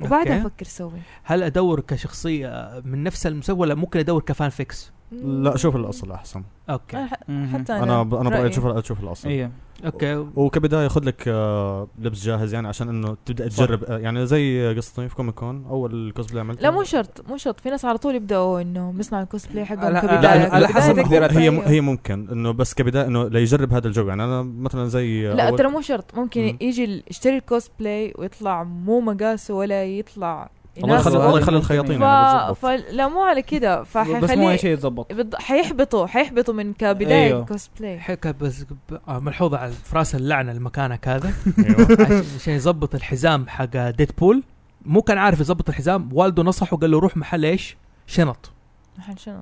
Speaker 2: وبعدها
Speaker 4: أوكي.
Speaker 2: فكر سوي
Speaker 4: هل ادور كشخصيه من نفس المسلسل ولا ممكن ادور كفان فيكس؟
Speaker 1: لا شوف الاصل احسن
Speaker 4: اوكي
Speaker 2: أنا ح-
Speaker 3: مهم.
Speaker 2: حتى أنا
Speaker 1: انا ب- انا برايي تشوف تشوف الاصل
Speaker 2: إيه.
Speaker 3: ايه
Speaker 4: اوكي
Speaker 1: وكبدايه خذ لك آه، لبس جاهز يعني عشان انه تبدا تجرب آه، يعني زي قصتي في كوميك كون اول كوسبلاي عملته
Speaker 2: لا مو شرط مو شرط في ناس على طول يبداوا إنه مصنع الكوسبلاي حقهم
Speaker 3: على-
Speaker 2: كبداية.
Speaker 1: لا أنا-
Speaker 3: على
Speaker 2: كبداية
Speaker 1: على
Speaker 3: حسب
Speaker 1: حسب
Speaker 2: تقدر-
Speaker 3: مقدراتك.
Speaker 1: هي
Speaker 2: أيوه.
Speaker 1: هي ممكن انه بس كبدايه انه ليجرب هذا الجو يعني انا مثلا زي
Speaker 2: لا
Speaker 1: أول-
Speaker 2: ترى مو شرط ممكن
Speaker 1: مم.
Speaker 2: يجي ال- يشتري الكوسبلاي ويطلع مو مقاسه ولا يطلع
Speaker 1: الله يخلي
Speaker 2: يناسبه.
Speaker 1: الله يخلي الخياطين
Speaker 2: ف...
Speaker 1: يعني بالضبط
Speaker 2: فلا مو على كده
Speaker 3: بس مو اي
Speaker 2: فحيخليه
Speaker 3: شيء يتظبط
Speaker 2: بالض- حيحبطوا حيحبطوا من كبدايه
Speaker 3: أيوه.
Speaker 2: أيوه. كوسبلاي
Speaker 4: حكى بس ب- آه، ملحوظه على فراس اللعنه المكانك هذا
Speaker 1: أيوة.
Speaker 4: عش- عشان يظبط الحزام حق ديدبول مو كان عارف يظبط الحزام والده نصحه قال له روح محل ايش؟ شنط
Speaker 2: محل شنو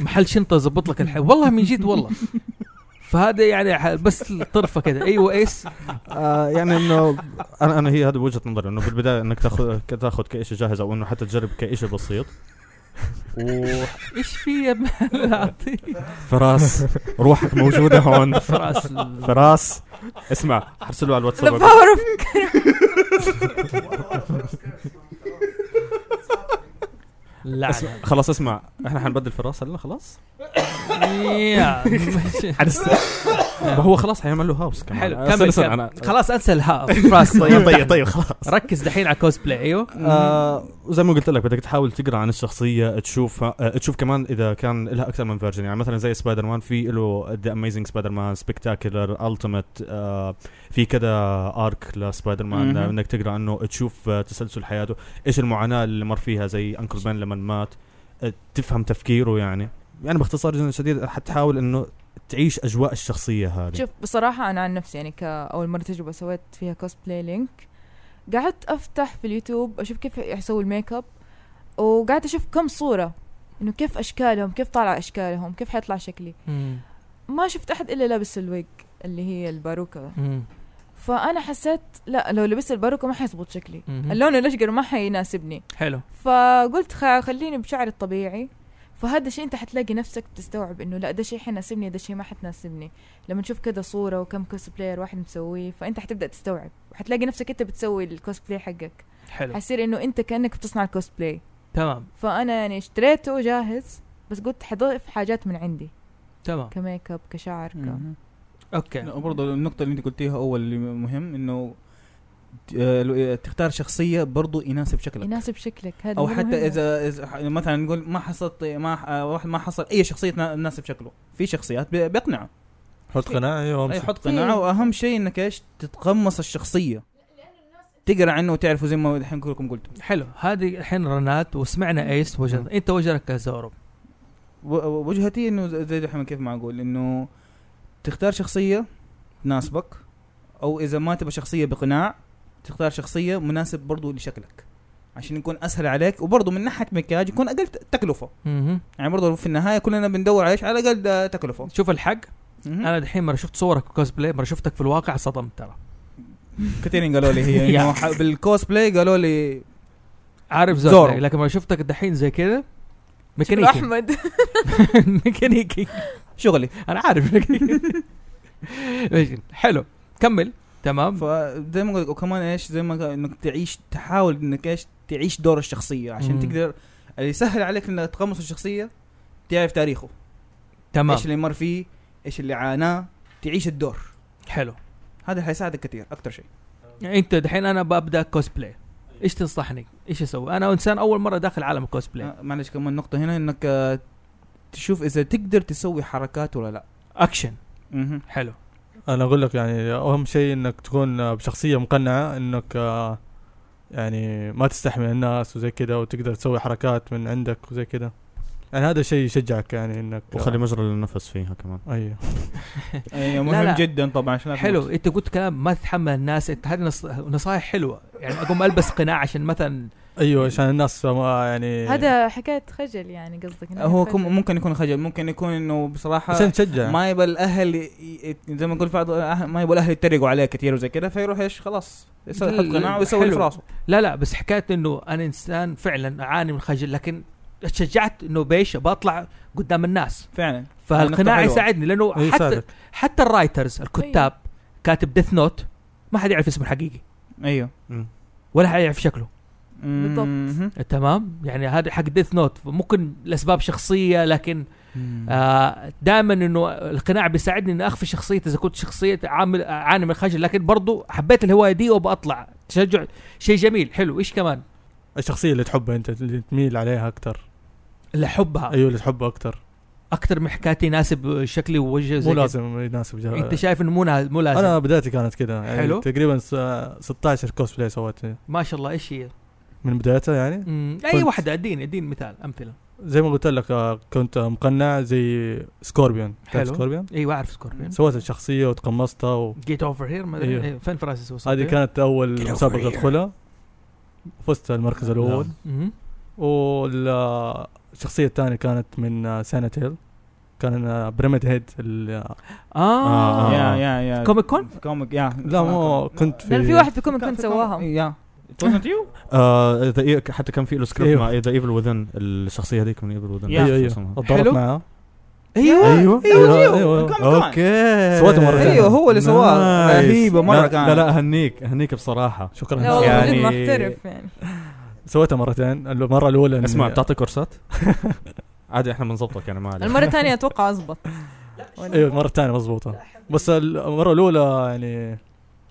Speaker 4: محل شنطه يظبط لك الحزام والله من جد والله فهذا يعني ح- بس طرفه كده ايوه ايس
Speaker 1: آه، يعني انه انا انا هي هذه وجهه نظري انه بالبدايه انك تاخذ تاخذ كشيء جاهز او انه حتى تجرب كشيء بسيط
Speaker 4: ايش في يا ملاتي
Speaker 1: وفراس روحك موجوده هون
Speaker 4: فراس ال-
Speaker 1: فراس اسمع ارسله على
Speaker 2: ذا
Speaker 1: الواتساب
Speaker 2: باور اوف
Speaker 4: اللعنه
Speaker 1: خلاص اسمع احنا حنبدل فراس هلا خلاص
Speaker 4: يا، مش-
Speaker 1: ما هو خلاص حيعمل له هاوس كمان
Speaker 4: حلو
Speaker 1: أنا
Speaker 4: كمل
Speaker 1: أصلاً
Speaker 4: كمل.
Speaker 1: انا
Speaker 4: خلاص انسى الها فراس
Speaker 1: طيب
Speaker 4: طيب
Speaker 1: طيب طيب خلاص
Speaker 4: ركز دحين على كوسبلاي ايوه
Speaker 1: آه زي ما قلت لك بدك تحاول تقرا عن الشخصيه تشوفها آه تشوف كمان اذا كان لها اكثر من فيرجن يعني مثلا زي سبايدر مان في له ذا اميزنج سبايدر مان سبكتاكلر التيمت آه، في كذا ارك لسبايدر مان
Speaker 3: مهم.
Speaker 1: آه، انك تقرا عنه تشوف آه تسلسل حياته ايش المعاناه اللي مر فيها زي انكل بان لما مات آه تفهم تفكيره يعني يعني باختصار شديد حتحاول انه تعيش اجواء الشخصيه هذه
Speaker 2: شوف بصراحه انا عن نفسي يعني كاول مره تجربه سويت فيها كوسبلاي لينك قعدت افتح في اليوتيوب اشوف كيف يسوي الميك اب وقعدت اشوف كم صوره انه كيف اشكالهم كيف طالع اشكالهم كيف حيطلع شكلي
Speaker 3: أمم،
Speaker 4: مم.
Speaker 2: ما شفت احد الا لابس الويج اللي هي الباروكه
Speaker 4: مم.
Speaker 3: أمم،
Speaker 2: فانا حسيت لا لو لبست الباروكه ما حيزبط شكلي
Speaker 3: أمم.
Speaker 4: مم.
Speaker 2: اللون الاشقر ما حيناسبني
Speaker 4: حلو
Speaker 2: فقلت خ- خليني بشعري الطبيعي فهذا الشيء انت حتلاقي نفسك بتستوعب انه لا ده شيء حيناسبني ده شيء ما حتناسبني لما تشوف كذا صوره وكم كوسبلاير واحد مسويه فانت حتبدا تستوعب وحتلاقي نفسك انت بتسوي الكوسبلاي حقك
Speaker 4: حلو
Speaker 2: حيصير انه انت كانك بتصنع الكوسبلاي
Speaker 4: تمام
Speaker 2: فانا يعني اشتريته جاهز بس قلت حضيف حاجات من عندي
Speaker 4: تمام
Speaker 2: كميك اب كشعر ك...
Speaker 3: مهم.
Speaker 4: اوكي
Speaker 3: لا، وبرضه النقطة اللي انت قلتيها اول اللي مهم انه آه، لو- آه، تختار شخصية برضه يناسب شكلك
Speaker 2: يناسب شكلك هذا
Speaker 3: او
Speaker 2: مرة
Speaker 3: حتى
Speaker 2: مهمة.
Speaker 3: اذا إذا ح- مثلا نقول ما حصلت ما ح- آه، واحد ما حصل اي شخصيه تنا- تناسب شكله في شخصيات بي- بيقنعه
Speaker 5: حط قناع ايوه
Speaker 3: اي
Speaker 5: وامشي
Speaker 3: حط قناعه واهم شيء انك ايش تتقمص الشخصيه تقرا عنه وتعرفه زي ما الحين كلكم قلتوا
Speaker 4: حلو هذه الحين رنات وسمعنا ايس
Speaker 3: أمم.
Speaker 4: وجهة انت وجهك كزورو
Speaker 3: و- و- وجهتي انه ز- زي دحين كيف ما اقول انه تختار شخصيه تناسبك او اذا ما تبغى شخصيه بقناع تختار شخصيه مناسب برضو لشكلك عشان يكون اسهل عليك وبرضو من ناحيه مكياج يكون اقل ت- تكلفه يعني برضو في النهايه كلنا بندور على ايش على اقل آه، تكلفه
Speaker 4: شوف الحق
Speaker 3: أمم. مهم.
Speaker 4: انا دحين مره شفت صورك كوسبلاي مره شفتك في الواقع صدمت ترى
Speaker 3: كثيرين قالوا لي هي
Speaker 4: يا.
Speaker 3: إنه ح- بالكوسبلاي قالوا لي
Speaker 4: عارف
Speaker 3: زورو.
Speaker 4: زورو لكن مره شفتك دحين زي كذا
Speaker 2: شكله
Speaker 4: ميكانيكي
Speaker 2: احمد
Speaker 4: ميكانيكي
Speaker 3: شغلي
Speaker 4: انا عارف ميكانيكي. حلو كمل تمام
Speaker 3: فزي ما قلت وكمان ايش زي ما قال انك تعيش تحاول انك ايش تعيش دور الشخصيه عشان
Speaker 4: مم.
Speaker 3: تقدر اللي يسهل عليك انك تقمص الشخصيه تعرف تاريخه
Speaker 4: تمام
Speaker 3: ايش اللي مر فيه ايش اللي عاناه تعيش الدور
Speaker 4: حلو
Speaker 3: هذا حيساعدك كثير اكثر شيء
Speaker 4: يعني انت دحين انا ببدا كوسبلاي ايش تنصحني؟ ايش اسوي؟ انا انسان اول مره داخل عالم الكوسبلاي
Speaker 3: آه، معلش كمان نقطه هنا انك آه، تشوف اذا تقدر تسوي حركات ولا لا
Speaker 4: اكشن
Speaker 3: مهم.
Speaker 4: حلو
Speaker 5: انا اقول لك يعني اهم شيء انك تكون آه، بشخصيه مقنعه انك آه، يعني ما تستحمل الناس وزي كده وتقدر تسوي حركات من عندك وزي كده يعني هذا شيء يشجعك يعني انك آه،
Speaker 1: وخلي مجرى للنفس فيها كمان
Speaker 5: ايوه
Speaker 3: ايوه
Speaker 4: لا، لا.
Speaker 3: مهم جدا طبعا عشان لا
Speaker 4: حلو
Speaker 3: تموت.
Speaker 4: انت قلت كلام ما تتحمل الناس انت هذه نص... نصائح حلوه يعني اقوم البس قناع عشان مثلا
Speaker 5: ايوه عشان الناس ما يعني
Speaker 2: هذا حكايه خجل يعني قصدك
Speaker 4: إيه،
Speaker 2: إنه
Speaker 3: هو
Speaker 2: خجل.
Speaker 3: كم- ممكن يكون خجل ممكن يكون انه بصراحه
Speaker 5: عشان تشجع
Speaker 3: ما يبى الاهل ي- ي- زي ما نقول بعض الأهل- ما يبى الاهل يتريقوا عليه كثير وزي كذا فيروح ايش خلاص يسوي يحط قناع ويسوي اللي في
Speaker 4: حلو.
Speaker 3: راسه
Speaker 4: لا لا بس حكايه انه انا انسان فعلا اعاني من الخجل لكن اتشجعت انه بيش بطلع قدام الناس
Speaker 3: فعلا النقطة
Speaker 4: فالقناع
Speaker 3: حلوة.
Speaker 4: يساعدني لانه
Speaker 5: إيه،
Speaker 4: حتى
Speaker 5: صادق.
Speaker 4: حتى الرايترز الكتاب كاتب ديث نوت ما حد يعرف اسمه الحقيقي
Speaker 3: ايوه
Speaker 4: ولا حد يعرف شكله
Speaker 2: بالضبط.
Speaker 3: مهم.
Speaker 4: تمام يعني هذا حق ديث نوت ممكن لاسباب شخصيه لكن
Speaker 3: آه.
Speaker 4: آه دائما انه القناع بيساعدني اني اخفي شخصيتي اذا كنت شخصيه عامل اعاني من الخجل لكن برضو حبيت الهوايه دي وبطلع تشجع شيء جميل حلو ايش كمان؟
Speaker 5: الشخصيه اللي تحبها انت اللي تميل عليها اكثر
Speaker 4: اللي احبها
Speaker 5: ايوه اللي تحبها اكثر
Speaker 4: اكثر من حكايتي يناسب شكلي ووجهي
Speaker 5: مو
Speaker 4: زي كده.
Speaker 5: لازم يناسب جا-
Speaker 4: انت شايف انه مو نا- مو لازم
Speaker 5: انا بدايتي كانت كذا يعني
Speaker 4: حلو.
Speaker 5: حلو تقريبا س- 16 كوسبلاي سويت
Speaker 4: ما شاء الله ايش هي؟
Speaker 5: من بدايتها يعني
Speaker 4: مم، اي
Speaker 5: كنت-
Speaker 4: واحده اديني اديني مثال امثله
Speaker 5: زي ما قلت لك آه، كنت مقنع زي سكوربيون
Speaker 4: حلو.
Speaker 5: حلو سكوربيون
Speaker 4: ايوه اعرف سكوربيون
Speaker 5: سويت الشخصيه وتقمصتها و...
Speaker 4: جيت اوفر هير ما
Speaker 5: أيوه.
Speaker 4: ادري أيوه. فين فرانسيس وصلت
Speaker 5: هذه كانت اول
Speaker 3: Get over
Speaker 5: مسابقه
Speaker 3: here.
Speaker 5: ادخلها فزت المركز الاول
Speaker 4: مهم.
Speaker 5: والشخصيه الثانيه كانت من سانتيل كان آه، بريميد هيد
Speaker 4: اه,
Speaker 1: آه.
Speaker 3: يا
Speaker 4: يعني.
Speaker 3: يا يا
Speaker 4: كوميك كون
Speaker 3: كوميك يا
Speaker 5: لا مو كنت
Speaker 2: لانه
Speaker 5: في
Speaker 2: في واحد في كوميك كنت سواها
Speaker 3: يا wasn't you
Speaker 1: آه ذا إي- حتى كان في له سكريبت
Speaker 5: أيوه.
Speaker 1: مع ذا ايفل وذن الشخصيه هذيك من ايفل وذن
Speaker 5: ايوه ايوه
Speaker 4: حلو.
Speaker 5: ضربت معاه
Speaker 4: ايوه
Speaker 1: ايوه
Speaker 3: أيوه،
Speaker 5: أيوه.
Speaker 3: كم- كمان.
Speaker 1: اوكي
Speaker 5: سويته مرتين.
Speaker 3: ايوه هو اللي سواها
Speaker 1: نايس.
Speaker 3: رهيبه مره
Speaker 1: لا- لا
Speaker 3: كانت
Speaker 1: لا هنيك هنيك بصراحه
Speaker 5: شكرا
Speaker 2: لا والله
Speaker 1: يعني-
Speaker 2: يعني... محترف يعني
Speaker 5: سويتها مرتين المره الاولى إن-
Speaker 1: اسمع بتعطي كورسات عادي احنا بنظبطك يعني ما عليك
Speaker 2: المره الثانيه اتوقع اضبط
Speaker 5: ايوه
Speaker 3: إيه.
Speaker 5: المره الثانيه مضبوطه بس المره الاولى يعني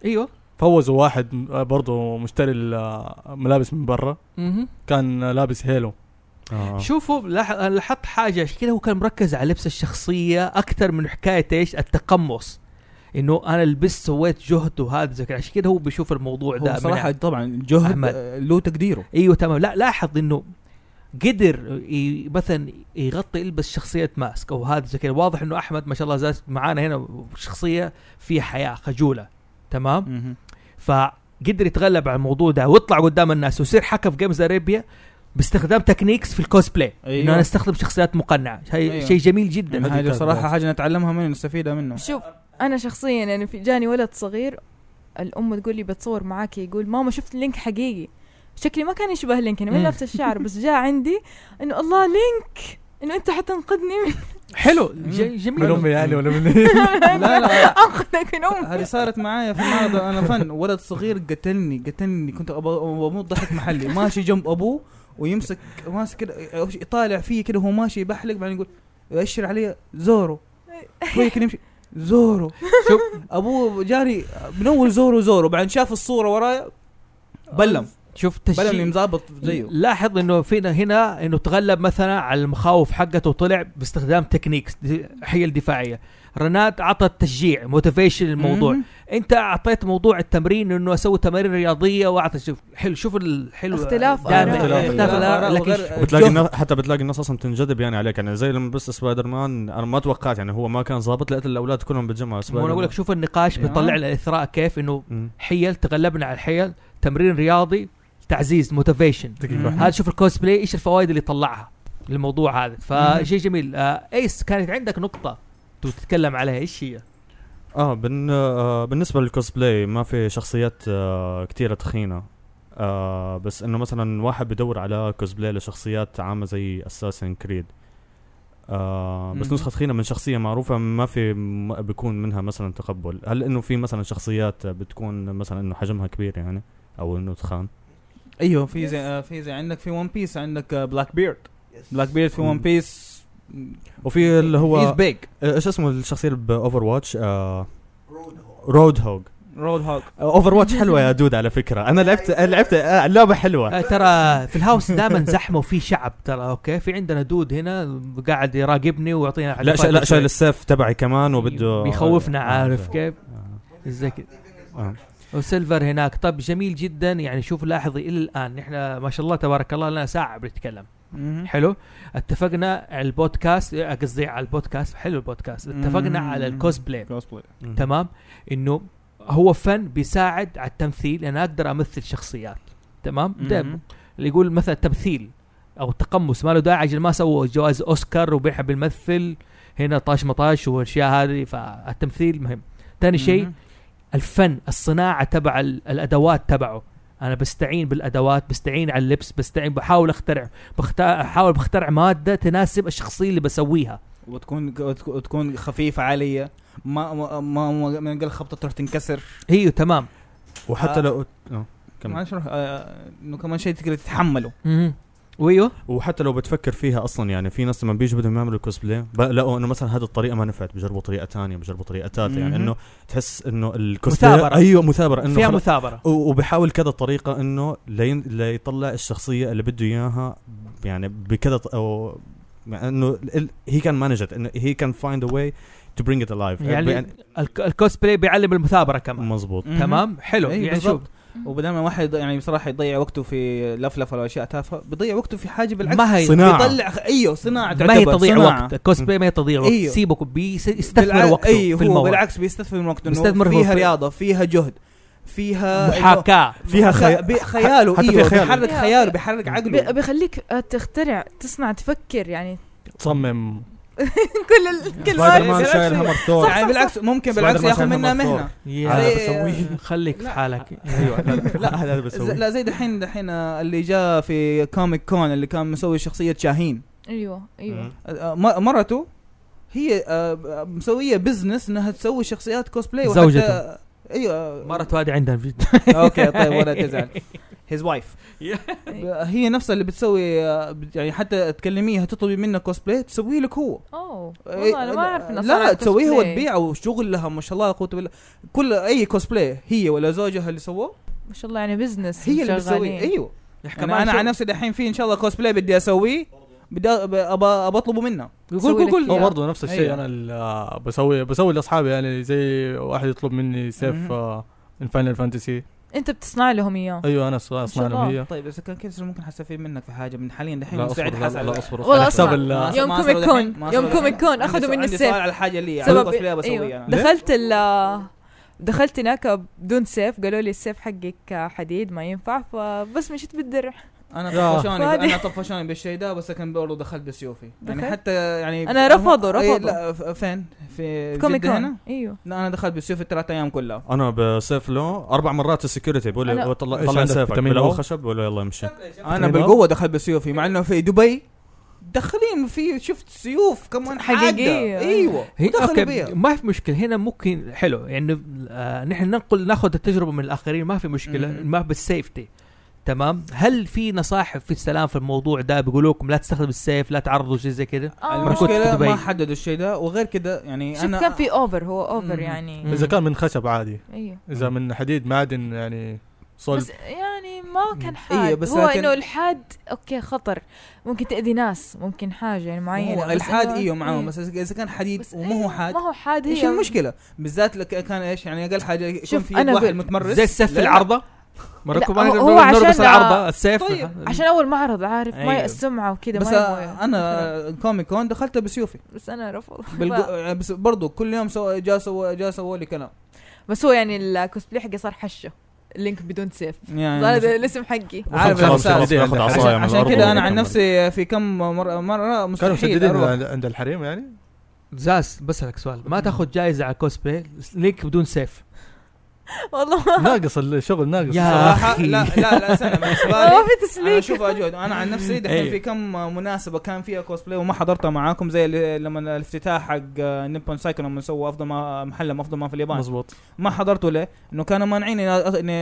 Speaker 4: ايوه
Speaker 5: فوزوا واحد برضه مشتري الملابس من برا
Speaker 4: مهم.
Speaker 5: كان لابس هيلو
Speaker 1: آه.
Speaker 4: شوفوا لاح- لاحظت حاجه عشان كذا هو كان مركز على لبس الشخصيه اكثر من حكايه ايش التقمص انه انا لبست سويت جهد وهذا زي كذا عشان كذا هو بيشوف الموضوع
Speaker 3: هو
Speaker 4: ده
Speaker 3: صراحه طبعا الجهد
Speaker 4: أحمد.
Speaker 3: آه، له تقديره
Speaker 4: ايوه تمام لا لاحظ انه قدر ي- مثلا يغطي يلبس شخصيه ماسك او هذا زي كذا واضح انه احمد ما شاء الله زاد معانا هنا شخصيه فيها حياه خجوله تمام
Speaker 3: مهم.
Speaker 4: فقدر يتغلب على الموضوع ده ويطلع قدام الناس ويصير حكى في جيمز اريبيا باستخدام تكنيكس في الكوسبلاي
Speaker 3: أيوه.
Speaker 4: أيوه. انه انا استخدم شخصيات مقنعه شيء
Speaker 3: أيوه.
Speaker 4: أيوه. شيء جميل جدا
Speaker 5: هذه
Speaker 3: هذه
Speaker 5: كانت
Speaker 3: صراحه
Speaker 5: بعد.
Speaker 3: حاجه نتعلمها منه نستفيدها منه
Speaker 2: شوف انا شخصيا يعني في جاني ولد صغير الام تقول لي بتصور معاكي يقول ماما شفت لينك حقيقي شكلي ما كان يشبه لينك انا
Speaker 4: مم.
Speaker 2: من
Speaker 3: إيه.
Speaker 2: لفت الشعر بس جاء عندي انه الله لينك انه انت حتنقذني من
Speaker 4: حلو ج-
Speaker 5: من
Speaker 4: جميل
Speaker 5: امي يعني ولا من
Speaker 3: لا لا
Speaker 2: انقذك من امي
Speaker 3: هذه صارت معايا في المعرض انا فن ولد صغير قتلني قتلني كنت أبا- بموت ضحك محلي ماشي جنب ابوه ويمسك ماسك كده أو- يطالع فيه كده وهو ماشي يبحلق بعدين يقول يأشر علي زورو شوي كده يمشي زورو
Speaker 4: شوف
Speaker 3: ابوه جاري من اول زورو زورو بعدين شاف الصوره ورايا بلم
Speaker 4: شوف
Speaker 3: بلم اللي
Speaker 4: تشجيع
Speaker 3: مظابط زيه
Speaker 4: لاحظ انه فينا هنا انه تغلب مثلا على المخاوف حقته وطلع باستخدام تكنيكس دي- حيل دفاعيه رنات عطت تشجيع موتيفيشن الموضوع
Speaker 3: مهم.
Speaker 4: انت اعطيت موضوع التمرين انه اسوي تمارين رياضيه واعطيت شوف حلو شوف الحلو
Speaker 2: اختلاف
Speaker 4: دائما
Speaker 2: آراء.
Speaker 4: اختلاف,
Speaker 1: اختلاف
Speaker 4: الآراء،
Speaker 3: آه، آراء
Speaker 4: لكن
Speaker 3: وغير- آه،
Speaker 1: بتلاقي
Speaker 3: جهد.
Speaker 1: الناس حتى بتلاقي الناس اصلا بتنجذب يعني عليك يعني زي لما بس سبايدر مان انا ما توقعت يعني هو ما كان ظابط لقيت الاولاد كلهم بتجمعوا
Speaker 4: شوف- وانا
Speaker 1: سبايدر
Speaker 4: اقول لك شوف النقاش
Speaker 3: يعني.
Speaker 4: بيطلع لنا الاثراء كيف انه
Speaker 1: مان.
Speaker 4: حيل تغلبنا على الحيل تمرين رياضي تعزيز موتيفيشن هذا شوف الكوسبلاي ايش الفوائد اللي طلعها للموضوع هذا فشيء جميل آه ايس كانت عندك نقطه تبغى تتكلم عليها ايش هي؟
Speaker 1: اه بن... آه بالنسبه للكوسبلاي ما في شخصيات آه كثيره تخينه آه بس انه مثلا واحد بدور على كوسبلاي لشخصيات عامه زي اساسن كريد آه بس
Speaker 3: مهم.
Speaker 1: نسخه تخينه من شخصيه معروفه ما في ما بيكون منها مثلا تقبل هل انه في مثلا شخصيات بتكون مثلا انه حجمها كبير يعني او انه تخان
Speaker 4: أيوه،
Speaker 3: ايوه في زي آه، في زي عندك في ون بيس عندك آه، بلاك بيرد بلاك بيرد في ون
Speaker 1: مم.
Speaker 3: بيس
Speaker 1: وفي اللي
Speaker 3: هو
Speaker 1: هو
Speaker 3: بيج
Speaker 1: ايش اسمه الشخصيه اللي باوفر واتش آه رود هوج
Speaker 3: رود هوك
Speaker 1: اوفر واتش حلوه يا دود على فكره انا لعبت لعبت آه، لعبه حلوه
Speaker 4: آه ترى في الهاوس دائما زحمه وفي شعب ترى اوكي في عندنا دود هنا قاعد يراقبني ويعطينا
Speaker 1: لا شا
Speaker 4: على-
Speaker 1: لا شايل السيف تبعي كمان وبده
Speaker 4: بيخوفنا
Speaker 1: آه،
Speaker 4: عارف
Speaker 1: آه.
Speaker 4: كيف؟
Speaker 1: آه.
Speaker 4: زي كذا
Speaker 1: آه.
Speaker 4: وسيلفر هناك طب جميل جدا يعني شوف لاحظي الى الان نحن ما شاء الله تبارك الله لنا ساعه بنتكلم حلو اتفقنا على البودكاست آه، قصدي على البودكاست حلو البودكاست اتفقنا
Speaker 3: مم.
Speaker 4: على الكوسبلاي
Speaker 3: كوسبلاي
Speaker 1: مم.
Speaker 4: تمام انه يعني هو فن بيساعد على التمثيل انا اقدر امثل شخصيات تمام
Speaker 3: مم.
Speaker 4: دائما اللي يقول مثلا تمثيل او تقمص ما له داعي عشان ما سووا جوائز اوسكار وبيحب يمثل هنا طاش مطاش والاشياء هذه فالتمثيل مهم ثاني شيء الفن الصناعه تبع ال- الادوات تبعه انا بستعين بالادوات بستعين على اللبس بستعين بحاول اخترع بخت- بحاول بخترع ماده تناسب الشخصيه اللي بسويها
Speaker 3: وتكون وتكون خفيفه عاليه ما ما ما ما- من قال خبطه تروح تنكسر
Speaker 4: هي تمام
Speaker 1: وحتى
Speaker 3: آه.
Speaker 1: لو آه. كمل.
Speaker 3: معلش روح آه، انه كمان شيء تقدر تتحمله
Speaker 4: مهم. ويو
Speaker 1: وحتى لو بتفكر فيها اصلا يعني في ناس لما بيجوا بدهم يعملوا كوسبلاي لقوا انه مثلا هذه الطريقه ما نفعت بجربوا طريقه ثانيه بجربوا طريقه ثالثه يعني
Speaker 3: مهم.
Speaker 1: انه تحس انه الكوسبلاي
Speaker 4: مثابرة.
Speaker 1: ايوه مثابره انه
Speaker 4: فيها
Speaker 1: خلاص-
Speaker 4: مثابره
Speaker 1: و- وبحاول كذا طريقه انه لين ليطلع الشخصيه اللي بده اياها يعني بكذا ط- او مع انه هي كان مانجت انه هي كان فايند ا واي تو برينج ات الايف
Speaker 4: يعني الك- الكوسبلاي بيعلم المثابره كمان
Speaker 1: مظبوط
Speaker 4: تمام حلو
Speaker 3: أي
Speaker 4: يعني شوف
Speaker 3: إيه، بالضبط. وبدل ما واحد يضيع- يعني بصراحه يضيع وقته في لفلفه واشياء تافهه بيضيع وقته في حاجه بالعكس
Speaker 4: ما هي
Speaker 1: صناعة.
Speaker 3: يطلع ايوه صناعه
Speaker 4: ما هي
Speaker 3: تعتبر
Speaker 4: تضيع
Speaker 3: صناعة.
Speaker 4: وقت الكوسبلاي ما هي تضيع وقت
Speaker 3: أيوه.
Speaker 4: سيبك بيستثمر
Speaker 3: بالع-
Speaker 4: وقته
Speaker 3: أيوه
Speaker 4: في
Speaker 3: هو
Speaker 4: الموضوع
Speaker 3: بالعكس بيستثمر من وقته
Speaker 4: بيستثمر
Speaker 3: انه
Speaker 4: في-
Speaker 3: فيها رياضه فيها جهد فيها
Speaker 4: محاكاه
Speaker 1: فيها خي-
Speaker 3: بي- خياله
Speaker 1: حتى
Speaker 3: حتى
Speaker 1: فيها
Speaker 3: ايوه
Speaker 1: خيال.
Speaker 3: بيحرك خياله بيحرك
Speaker 2: بي-
Speaker 3: عقله
Speaker 2: بيخليك آه، تخترع تصنع تفكر يعني
Speaker 5: تصمم
Speaker 2: كل ال... كل
Speaker 3: سبايدر
Speaker 2: واحد
Speaker 3: مان
Speaker 2: بنفسه.
Speaker 3: شايل
Speaker 5: همر
Speaker 2: صح.
Speaker 5: ثور
Speaker 3: يعني بالعكس ممكن
Speaker 5: سبايدر
Speaker 3: بالعكس
Speaker 5: مان
Speaker 3: ياخذ
Speaker 5: شايل
Speaker 3: منها
Speaker 5: همر
Speaker 3: مهنه
Speaker 4: يا
Speaker 5: هذا
Speaker 3: زي-
Speaker 5: بسويه.
Speaker 4: خليك في
Speaker 3: لا.
Speaker 4: حالك
Speaker 5: ايوه لا، لا هذا
Speaker 3: ز-
Speaker 5: بسويه
Speaker 3: لا زي دحين دحين آه، اللي جاء في كوميك كون اللي كان مسوي شخصيه شاهين
Speaker 2: ايوه ايوه
Speaker 3: آه، آه، م- مرته هي آه، مسويه بزنس انها تسوي شخصيات كوسبلاي
Speaker 4: زوجته.
Speaker 3: ايوه
Speaker 4: مرته هذه عندها في
Speaker 3: اوكي طيب ولا تزعل هيز وايف
Speaker 4: Yeah.
Speaker 2: إيه.
Speaker 3: هي نفسها اللي بتسوي آه، بت- يعني حتى تكلميها تطلبي منها كوسبلاي تسوي لك هو
Speaker 2: اوه والله انا ما اعرف انها
Speaker 3: إيه، لا لا
Speaker 2: صارت
Speaker 3: تسويه
Speaker 2: cosplay.
Speaker 3: وتبيعه وشغلها ما شاء الله لا قوه بالله كل اي كوسبلاي هي ولا زوجها اللي سووه
Speaker 2: ما شاء الله يعني بزنس
Speaker 3: هي اللي بتسويه ايوه انا انا عن نفسي دحين في ان شاء الله كوسبلاي بدي اسويه بدي أ- ب- ابى ابى اطلبه منها
Speaker 2: سوي
Speaker 4: قول
Speaker 2: لك إيه.
Speaker 4: قول
Speaker 5: هو
Speaker 2: إياه.
Speaker 4: قول
Speaker 5: برضه نفس الشيء
Speaker 3: أيوة.
Speaker 5: انا ال- آه، بسوي بسوي لاصحابي يعني زي واحد يطلب مني سيف
Speaker 3: مهم.
Speaker 5: آه، من فاينل فانتسي
Speaker 2: انت بتصنع لهم اياه
Speaker 3: أيوه،
Speaker 5: ايوه انا أص- اصنع لهم
Speaker 2: الله.
Speaker 5: هي
Speaker 3: طيب اذا كان كذا شو ممكن حستفيد منك في حاجه من حاليا دحين
Speaker 5: لا
Speaker 3: مستعد
Speaker 5: اصبر لا-
Speaker 3: حسن
Speaker 5: لا اصبر
Speaker 2: والله
Speaker 5: على حساب
Speaker 2: أصبر.
Speaker 5: ال-
Speaker 2: يوم
Speaker 3: ما
Speaker 2: كوميك
Speaker 3: أصبر دحين،
Speaker 2: كون،
Speaker 3: ما
Speaker 2: يوم
Speaker 3: أصبر دحين.
Speaker 2: كوميك كون
Speaker 3: عندي
Speaker 2: أخذوا
Speaker 3: سؤال-
Speaker 2: مني
Speaker 3: عندي
Speaker 2: السيف.
Speaker 3: سؤال يعني. على الحاجه اللي على
Speaker 2: سبب
Speaker 3: الكوسبلاي بسويه
Speaker 2: أيوه.
Speaker 3: انا
Speaker 2: دخلت ال دخلت هناك بدون سيف قالوا لي السيف حقك حديد ما ينفع فبس مشيت بالدرع
Speaker 3: انا
Speaker 5: يا.
Speaker 3: طفشاني
Speaker 2: فادي.
Speaker 3: انا طفشاني بالشيء ده بس كان برضه دخلت بسيوفي يعني
Speaker 2: دخلت؟
Speaker 3: حتى يعني
Speaker 2: أنا رفضوا-
Speaker 3: أي-
Speaker 2: رفضوا.
Speaker 3: لا ف- فين في
Speaker 2: في كوميك
Speaker 3: جدة
Speaker 2: كون
Speaker 3: هنا
Speaker 2: ايوه
Speaker 3: لا انا دخلت بسيوفي الثلاث ايام كلها
Speaker 1: انا بسيف له اربع مرات السكيورتي بقول
Speaker 2: أنا-
Speaker 1: لي طلع
Speaker 5: إيش
Speaker 1: طلع
Speaker 5: عندك،
Speaker 1: سيفك
Speaker 5: فيتامين
Speaker 1: بالاول
Speaker 5: أو؟
Speaker 1: خشب ولا يلا امشي
Speaker 3: انا بالقوه دخلت بسيوفي مع انه في دبي دخلين في شفت سيوف كمان حادة.
Speaker 2: حقيقية.
Speaker 3: ايوه
Speaker 4: هي
Speaker 3: دخلوا
Speaker 4: اوكي
Speaker 3: بيها
Speaker 4: ما في مشكله هنا ممكن حلو يعني آه نحن ننقل ناخذ التجربه من الاخرين ما في مشكله
Speaker 3: مم.
Speaker 4: ما بالسيفتي تمام هل في نصائح في السلام في الموضوع ده بيقولوا لكم لا تستخدم السيف لا تعرضوا شيء زي كذا
Speaker 2: آه،
Speaker 4: مركوت في
Speaker 3: المشكله
Speaker 4: دبي.
Speaker 3: ما حددوا الشيء ده وغير كده يعني
Speaker 2: شوف
Speaker 3: انا
Speaker 2: كان في اوفر هو اوفر
Speaker 3: مم.
Speaker 2: يعني
Speaker 4: مم.
Speaker 5: اذا كان من خشب عادي
Speaker 2: ايوه
Speaker 5: اذا من حديد معدن يعني صلب
Speaker 2: بس يعني ما كان
Speaker 3: إيه،
Speaker 2: حاد
Speaker 3: بس
Speaker 2: هو
Speaker 3: لكن-
Speaker 2: انه الحاد اوكي خطر ممكن تاذي ناس ممكن حاجه يعني معينه
Speaker 3: هو
Speaker 2: بس
Speaker 3: الحاد
Speaker 2: إنه-
Speaker 3: ايوه معاهم
Speaker 2: إيه.
Speaker 3: بس اذا كان حديد
Speaker 2: بس
Speaker 3: وما هو
Speaker 2: إيه،
Speaker 3: حاد
Speaker 2: ما هو حاد
Speaker 3: ايش
Speaker 2: هي
Speaker 3: المشكله بالذات لك كان ايش يعني اقل حاجه يكون
Speaker 2: شوف،
Speaker 3: في
Speaker 2: أنا
Speaker 3: يد واحد
Speaker 2: ب-
Speaker 3: متمرس
Speaker 4: زي السيف في
Speaker 3: لا، لا.
Speaker 4: العرضه مركب
Speaker 2: هو-
Speaker 4: ما نقدر
Speaker 2: هو عشان-
Speaker 4: نرقص العرضه السيف
Speaker 3: طيب،
Speaker 2: عشان اول معرض عارف ما
Speaker 4: أيوه.
Speaker 2: السمعه وكذا
Speaker 3: بس
Speaker 2: ما يعني. يبغوا-
Speaker 3: آه، انا كوميك كون دخلت بسيوفي
Speaker 2: بس انا رفض
Speaker 3: بالقو... يعني بس برضو كل يوم سو... جا سو... جا سووا لي كلام
Speaker 2: بس هو يعني الكوسبلاي حقي صار حشه لينك بدون سيف صار هذا
Speaker 3: يعني
Speaker 2: الاسم حقي
Speaker 3: عارف
Speaker 5: خلاص،
Speaker 3: الإحساس.
Speaker 5: خلاص، ناخذ
Speaker 3: عشان,
Speaker 5: عصاية من
Speaker 3: عشان
Speaker 5: الأرض
Speaker 3: كده انا
Speaker 5: ونكمل.
Speaker 3: عن نفسي في كم مره, مرة
Speaker 5: كانوا
Speaker 3: مستحيل
Speaker 5: مشددين
Speaker 3: اروح
Speaker 5: عند- عند الحريم يعني
Speaker 4: زاز بسألك سؤال ما تاخذ جائزة على كوسبلاي ليك بدون سيف
Speaker 2: والله ما
Speaker 5: ناقص الشغل ناقص
Speaker 4: يا
Speaker 5: الصراحة.
Speaker 3: صراحة لا لا لا استنى بالنسبه
Speaker 2: ما
Speaker 3: لي
Speaker 2: في
Speaker 3: انا
Speaker 2: تسليك
Speaker 3: اشوف اجود انا عن نفسي دحين
Speaker 5: إيه.
Speaker 4: أيوه.
Speaker 3: في كم مناسبه كان فيها كوسبلاي وما حضرتها معاكم زي اللي- لما الافتتاح حق نيبون سايكو لما سووا افضل ما محل افضل ما في اليابان
Speaker 5: مزبوط
Speaker 3: ما حضرته ليه؟ انه كانوا مانعين اني اني,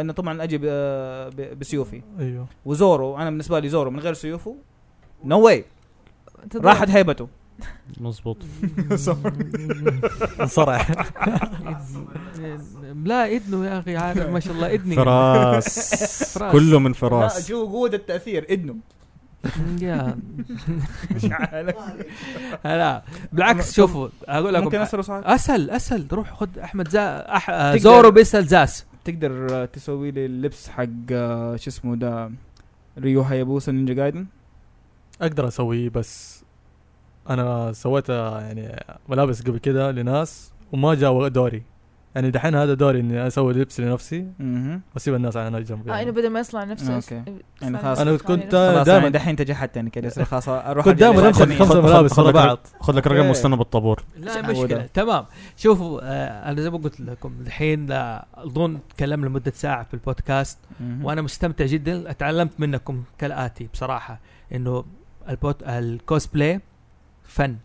Speaker 3: إني طبعا اجي ب- ب- بسيوفي
Speaker 5: ايوه
Speaker 3: وزورو انا بالنسبه لي زورو من غير سيوفه نو واي راحت هيبته
Speaker 1: مزبوط
Speaker 5: انصرع
Speaker 4: لا ادنو يا اخي عارف ما شاء الله ادني
Speaker 1: فراس
Speaker 4: فراس.
Speaker 1: كله من
Speaker 3: لا
Speaker 1: فراس
Speaker 3: جو قوه التاثير ادنو
Speaker 4: يا
Speaker 3: مش عارف.
Speaker 4: لا بالعكس شوفوا اقول
Speaker 3: ممكن
Speaker 4: لكم
Speaker 3: اسال سؤال
Speaker 4: اسهل اسهل روح خد احمد زا أح... آه،
Speaker 3: تقدر-
Speaker 4: زورو بيسال زاس
Speaker 3: تقدر تسوي لي اللبس حق آه، شو اسمه ده ريو هايبوسا نينجا جايدن
Speaker 5: اقدر اسويه بس انا سويت آه، يعني ملابس قبل كده لناس وما جاء دوري يعني دحين هذا دوري اني اسوي لبس لنفسي
Speaker 3: مهم.
Speaker 5: واسيب الناس على يعني. جنب
Speaker 2: آه انه بدل ما يصنع نفسه
Speaker 3: أوكي.
Speaker 2: يصنع
Speaker 3: يعني خلاص.
Speaker 2: نفسه
Speaker 5: أنا
Speaker 2: يصنع
Speaker 5: كنت-
Speaker 2: لنفسه.
Speaker 5: دائماً-
Speaker 3: خلاص دائما دحين تجحت يعني كذا يصير خلاص اروح
Speaker 5: كنت دائما
Speaker 1: عليه.
Speaker 5: امسك
Speaker 1: خذ-
Speaker 5: خمسه
Speaker 1: خذ-
Speaker 5: ملابس
Speaker 1: خذ-
Speaker 5: ورا
Speaker 1: خذ-
Speaker 5: بعض
Speaker 1: خذ لك رقم
Speaker 3: إيه.
Speaker 1: واستنى بالطابور
Speaker 4: لا
Speaker 3: سعودة.
Speaker 4: مشكله تمام شوفوا آه انا زي ما قلت لكم الحين لا اظن تكلمنا لمده ساعه في البودكاست وانا مستمتع جدا اتعلمت منكم كالاتي بصراحه انه البوت الكوسبلاي فن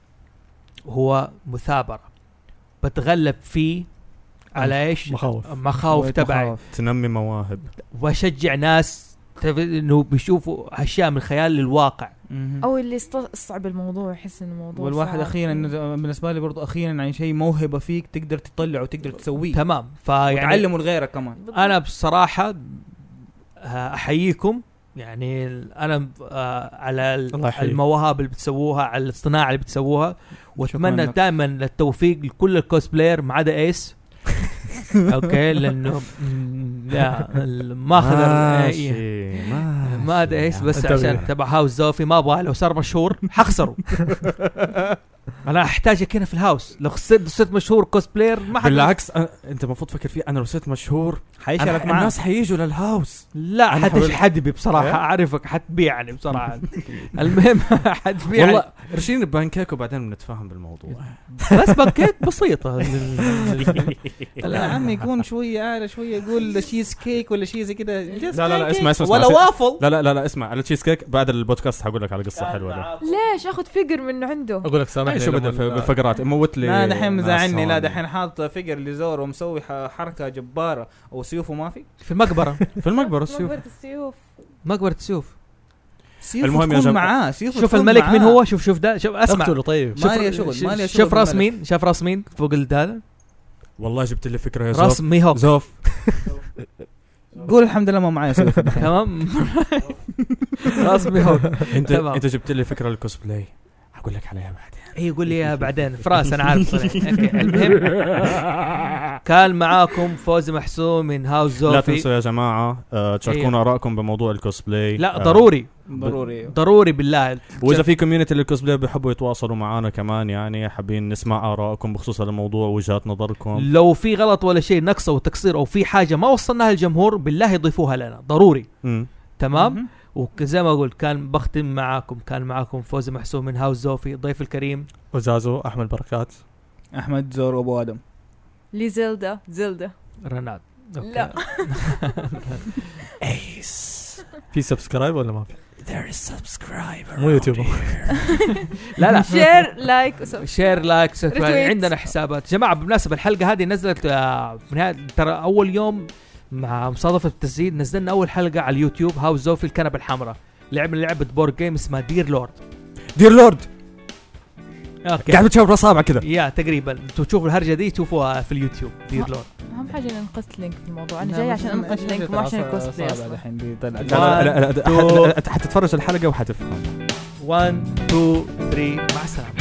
Speaker 4: هو مثابره بتغلب فيه على ايش؟
Speaker 5: مخاوف
Speaker 4: مخاوف تبعي
Speaker 1: تنمي مواهب
Speaker 4: واشجع ناس تعرف انه بيشوفوا اشياء من الخيال للواقع
Speaker 3: او
Speaker 2: او اللي استصعب الموضوع يحس ان الموضوع
Speaker 3: والواحد
Speaker 2: صعب.
Speaker 3: اخيرا إنه زي- بالنسبه لي برضو اخيرا يعني شيء موهبه فيك تقدر تطلعه وتقدر
Speaker 5: طيب.
Speaker 3: تسويه
Speaker 4: تمام يعني فيعني
Speaker 3: وتعلمه لغيرك كمان
Speaker 2: بالضبط.
Speaker 4: انا بصراحه آه، احييكم يعني ال- انا آه، على ال-
Speaker 5: الله يحييك.
Speaker 4: المواهب اللي بتسووها على الصناعه اللي بتسووها واتمنى
Speaker 3: لك.
Speaker 4: دائما التوفيق لكل الكوسبلاير ما عدا ايس اوكي لانه م- لا آه، ال- ماخذ ال- إيه.
Speaker 1: ماشي ماشي.
Speaker 4: ما ادري ايش بس
Speaker 5: انتبه.
Speaker 4: عشان تبع هاوس زوفي ما ابغى لو صار مشهور حخسره انا احتاجك هنا في الهاوس لو صرت صرت مشهور كوسبلاير ما حد
Speaker 1: بالعكس أنا- انت المفروض تفكر فيه انا لو صرت مشهور
Speaker 3: حيشارك
Speaker 1: أنا-
Speaker 3: معاه
Speaker 1: الناس حييجوا للهاوس
Speaker 4: لا
Speaker 1: أنا حاول-
Speaker 4: حتش حدبي بصراحه
Speaker 1: إيه؟
Speaker 4: اعرفك حتبيعني بصراحه المهم حتبيعني
Speaker 1: والله ارشيني بانكيك وبعدين بنتفاهم بالموضوع
Speaker 4: بس باكيت بسيطه
Speaker 3: لا يا عم يكون شويه اعلى شويه يقول شيز كيك ولا شيء زي كذا
Speaker 1: لا لا لا اسمع اسمع
Speaker 3: ولا
Speaker 1: اسمع.
Speaker 3: وافل
Speaker 1: لا لا لا لا اسمع على تشيز كيك بعد البودكاست حقول لك على قصه حلوه لا.
Speaker 2: ليش اخذ فيجر من عنده
Speaker 5: اقول لك سامحني
Speaker 1: شو بدنا
Speaker 5: لما
Speaker 1: في-
Speaker 5: ال-
Speaker 1: بالفقرات موت لي
Speaker 3: لا دحين
Speaker 1: ناس
Speaker 3: مزعلني لا
Speaker 1: هون.
Speaker 3: دحين حاط فيجر لزور ومسوي ح- حركه جباره وسيوفه ما في
Speaker 4: في المقبره
Speaker 1: في المقبره السيوف
Speaker 2: مقبرة السيوف
Speaker 4: مقبره سيوف
Speaker 3: سيوفه
Speaker 1: المهم يا
Speaker 3: تكون
Speaker 1: جماعة.
Speaker 3: معاه سيوفه
Speaker 4: شوف
Speaker 3: تكون
Speaker 4: الملك
Speaker 3: معاه.
Speaker 1: آه.
Speaker 4: مين هو شوف شوف ده شوف اسمع
Speaker 5: اقتله طيب
Speaker 3: ما لي شغل، ما لي شغل
Speaker 4: شوف راس
Speaker 3: بالملك.
Speaker 4: مين شاف راس مين فوق الدال
Speaker 1: والله جبت لي فكره يا
Speaker 4: راس
Speaker 1: زوف
Speaker 4: ميهوك
Speaker 1: زوف
Speaker 3: قول الحمد لله ما معايا سيوفه دحين.
Speaker 4: تمام راس ميهوك
Speaker 1: انت
Speaker 4: تمام.
Speaker 1: انت جبت لي فكره الكوسبلاي اقول لك عليها بعدين
Speaker 4: اي قول إيه، لي اياها بعدين فراس انا عارف طلع أوكي، المهم كان معاكم فوزي محسوم من هاوس
Speaker 1: لا
Speaker 4: زوفي
Speaker 1: تنسوا يا جماعه آه، تشاركونا ارائكم بموضوع الكوسبلاي
Speaker 4: لا
Speaker 1: آه،
Speaker 4: ضروري
Speaker 3: ضروري
Speaker 4: ضروري بالله
Speaker 1: واذا في كوميونتي للكوسبلاي بيحبوا يتواصلوا معنا كمان يعني حابين نسمع ارائكم بخصوص الموضوع وجهات نظركم
Speaker 4: لو في غلط ولا شيء نقص او تقصير او في حاجه ما وصلناها للجمهور بالله يضيفوها لنا ضروري
Speaker 1: مم.
Speaker 4: تمام وزي ما قلت كان بختم معاكم كان معاكم فوزي محسوم من هاوس زوفي ضيف الكريم
Speaker 5: وزازو احمد بركات
Speaker 3: احمد زور وابو ادم
Speaker 2: لزلدا زلدا
Speaker 4: رناد أوكي.
Speaker 2: لا
Speaker 5: في سبسكرايب ولا ما في؟
Speaker 1: There is subscriber
Speaker 5: مو يوتيوب
Speaker 4: لا لا
Speaker 2: شير لايك وسب-
Speaker 4: شير لايك سبسكرايب.
Speaker 2: ريتويت.
Speaker 4: عندنا حسابات جماعه بالمناسبه الحلقه هذه نزلت آه، في نهاية- ترى اول يوم مع مصادفه التسجيل نزلنا اول حلقه على اليوتيوب هاوس زوفي الكنبه الحمراء لعبنا لعبه بورد جيم اسمها دير لورد
Speaker 1: دير لورد
Speaker 4: اوكي
Speaker 1: قاعد بتشاور اصابع كذا
Speaker 4: يا تقريبا تشوفوا الهرجه دي تشوفوها في اليوتيوب دير
Speaker 2: ما-
Speaker 4: لورد
Speaker 2: اهم حاجه اني انقذت لينك في الموضوع
Speaker 4: نعم،
Speaker 2: انا جاي عشان انقذ لينك مو عشان الكوسبلاي اصلا
Speaker 3: دحين دي طلع
Speaker 1: لا لا لا, لا, لا, لا, لا, لا, لا حتتفرج الحلقه وحتفهم
Speaker 4: 1 2 3 مع السلامه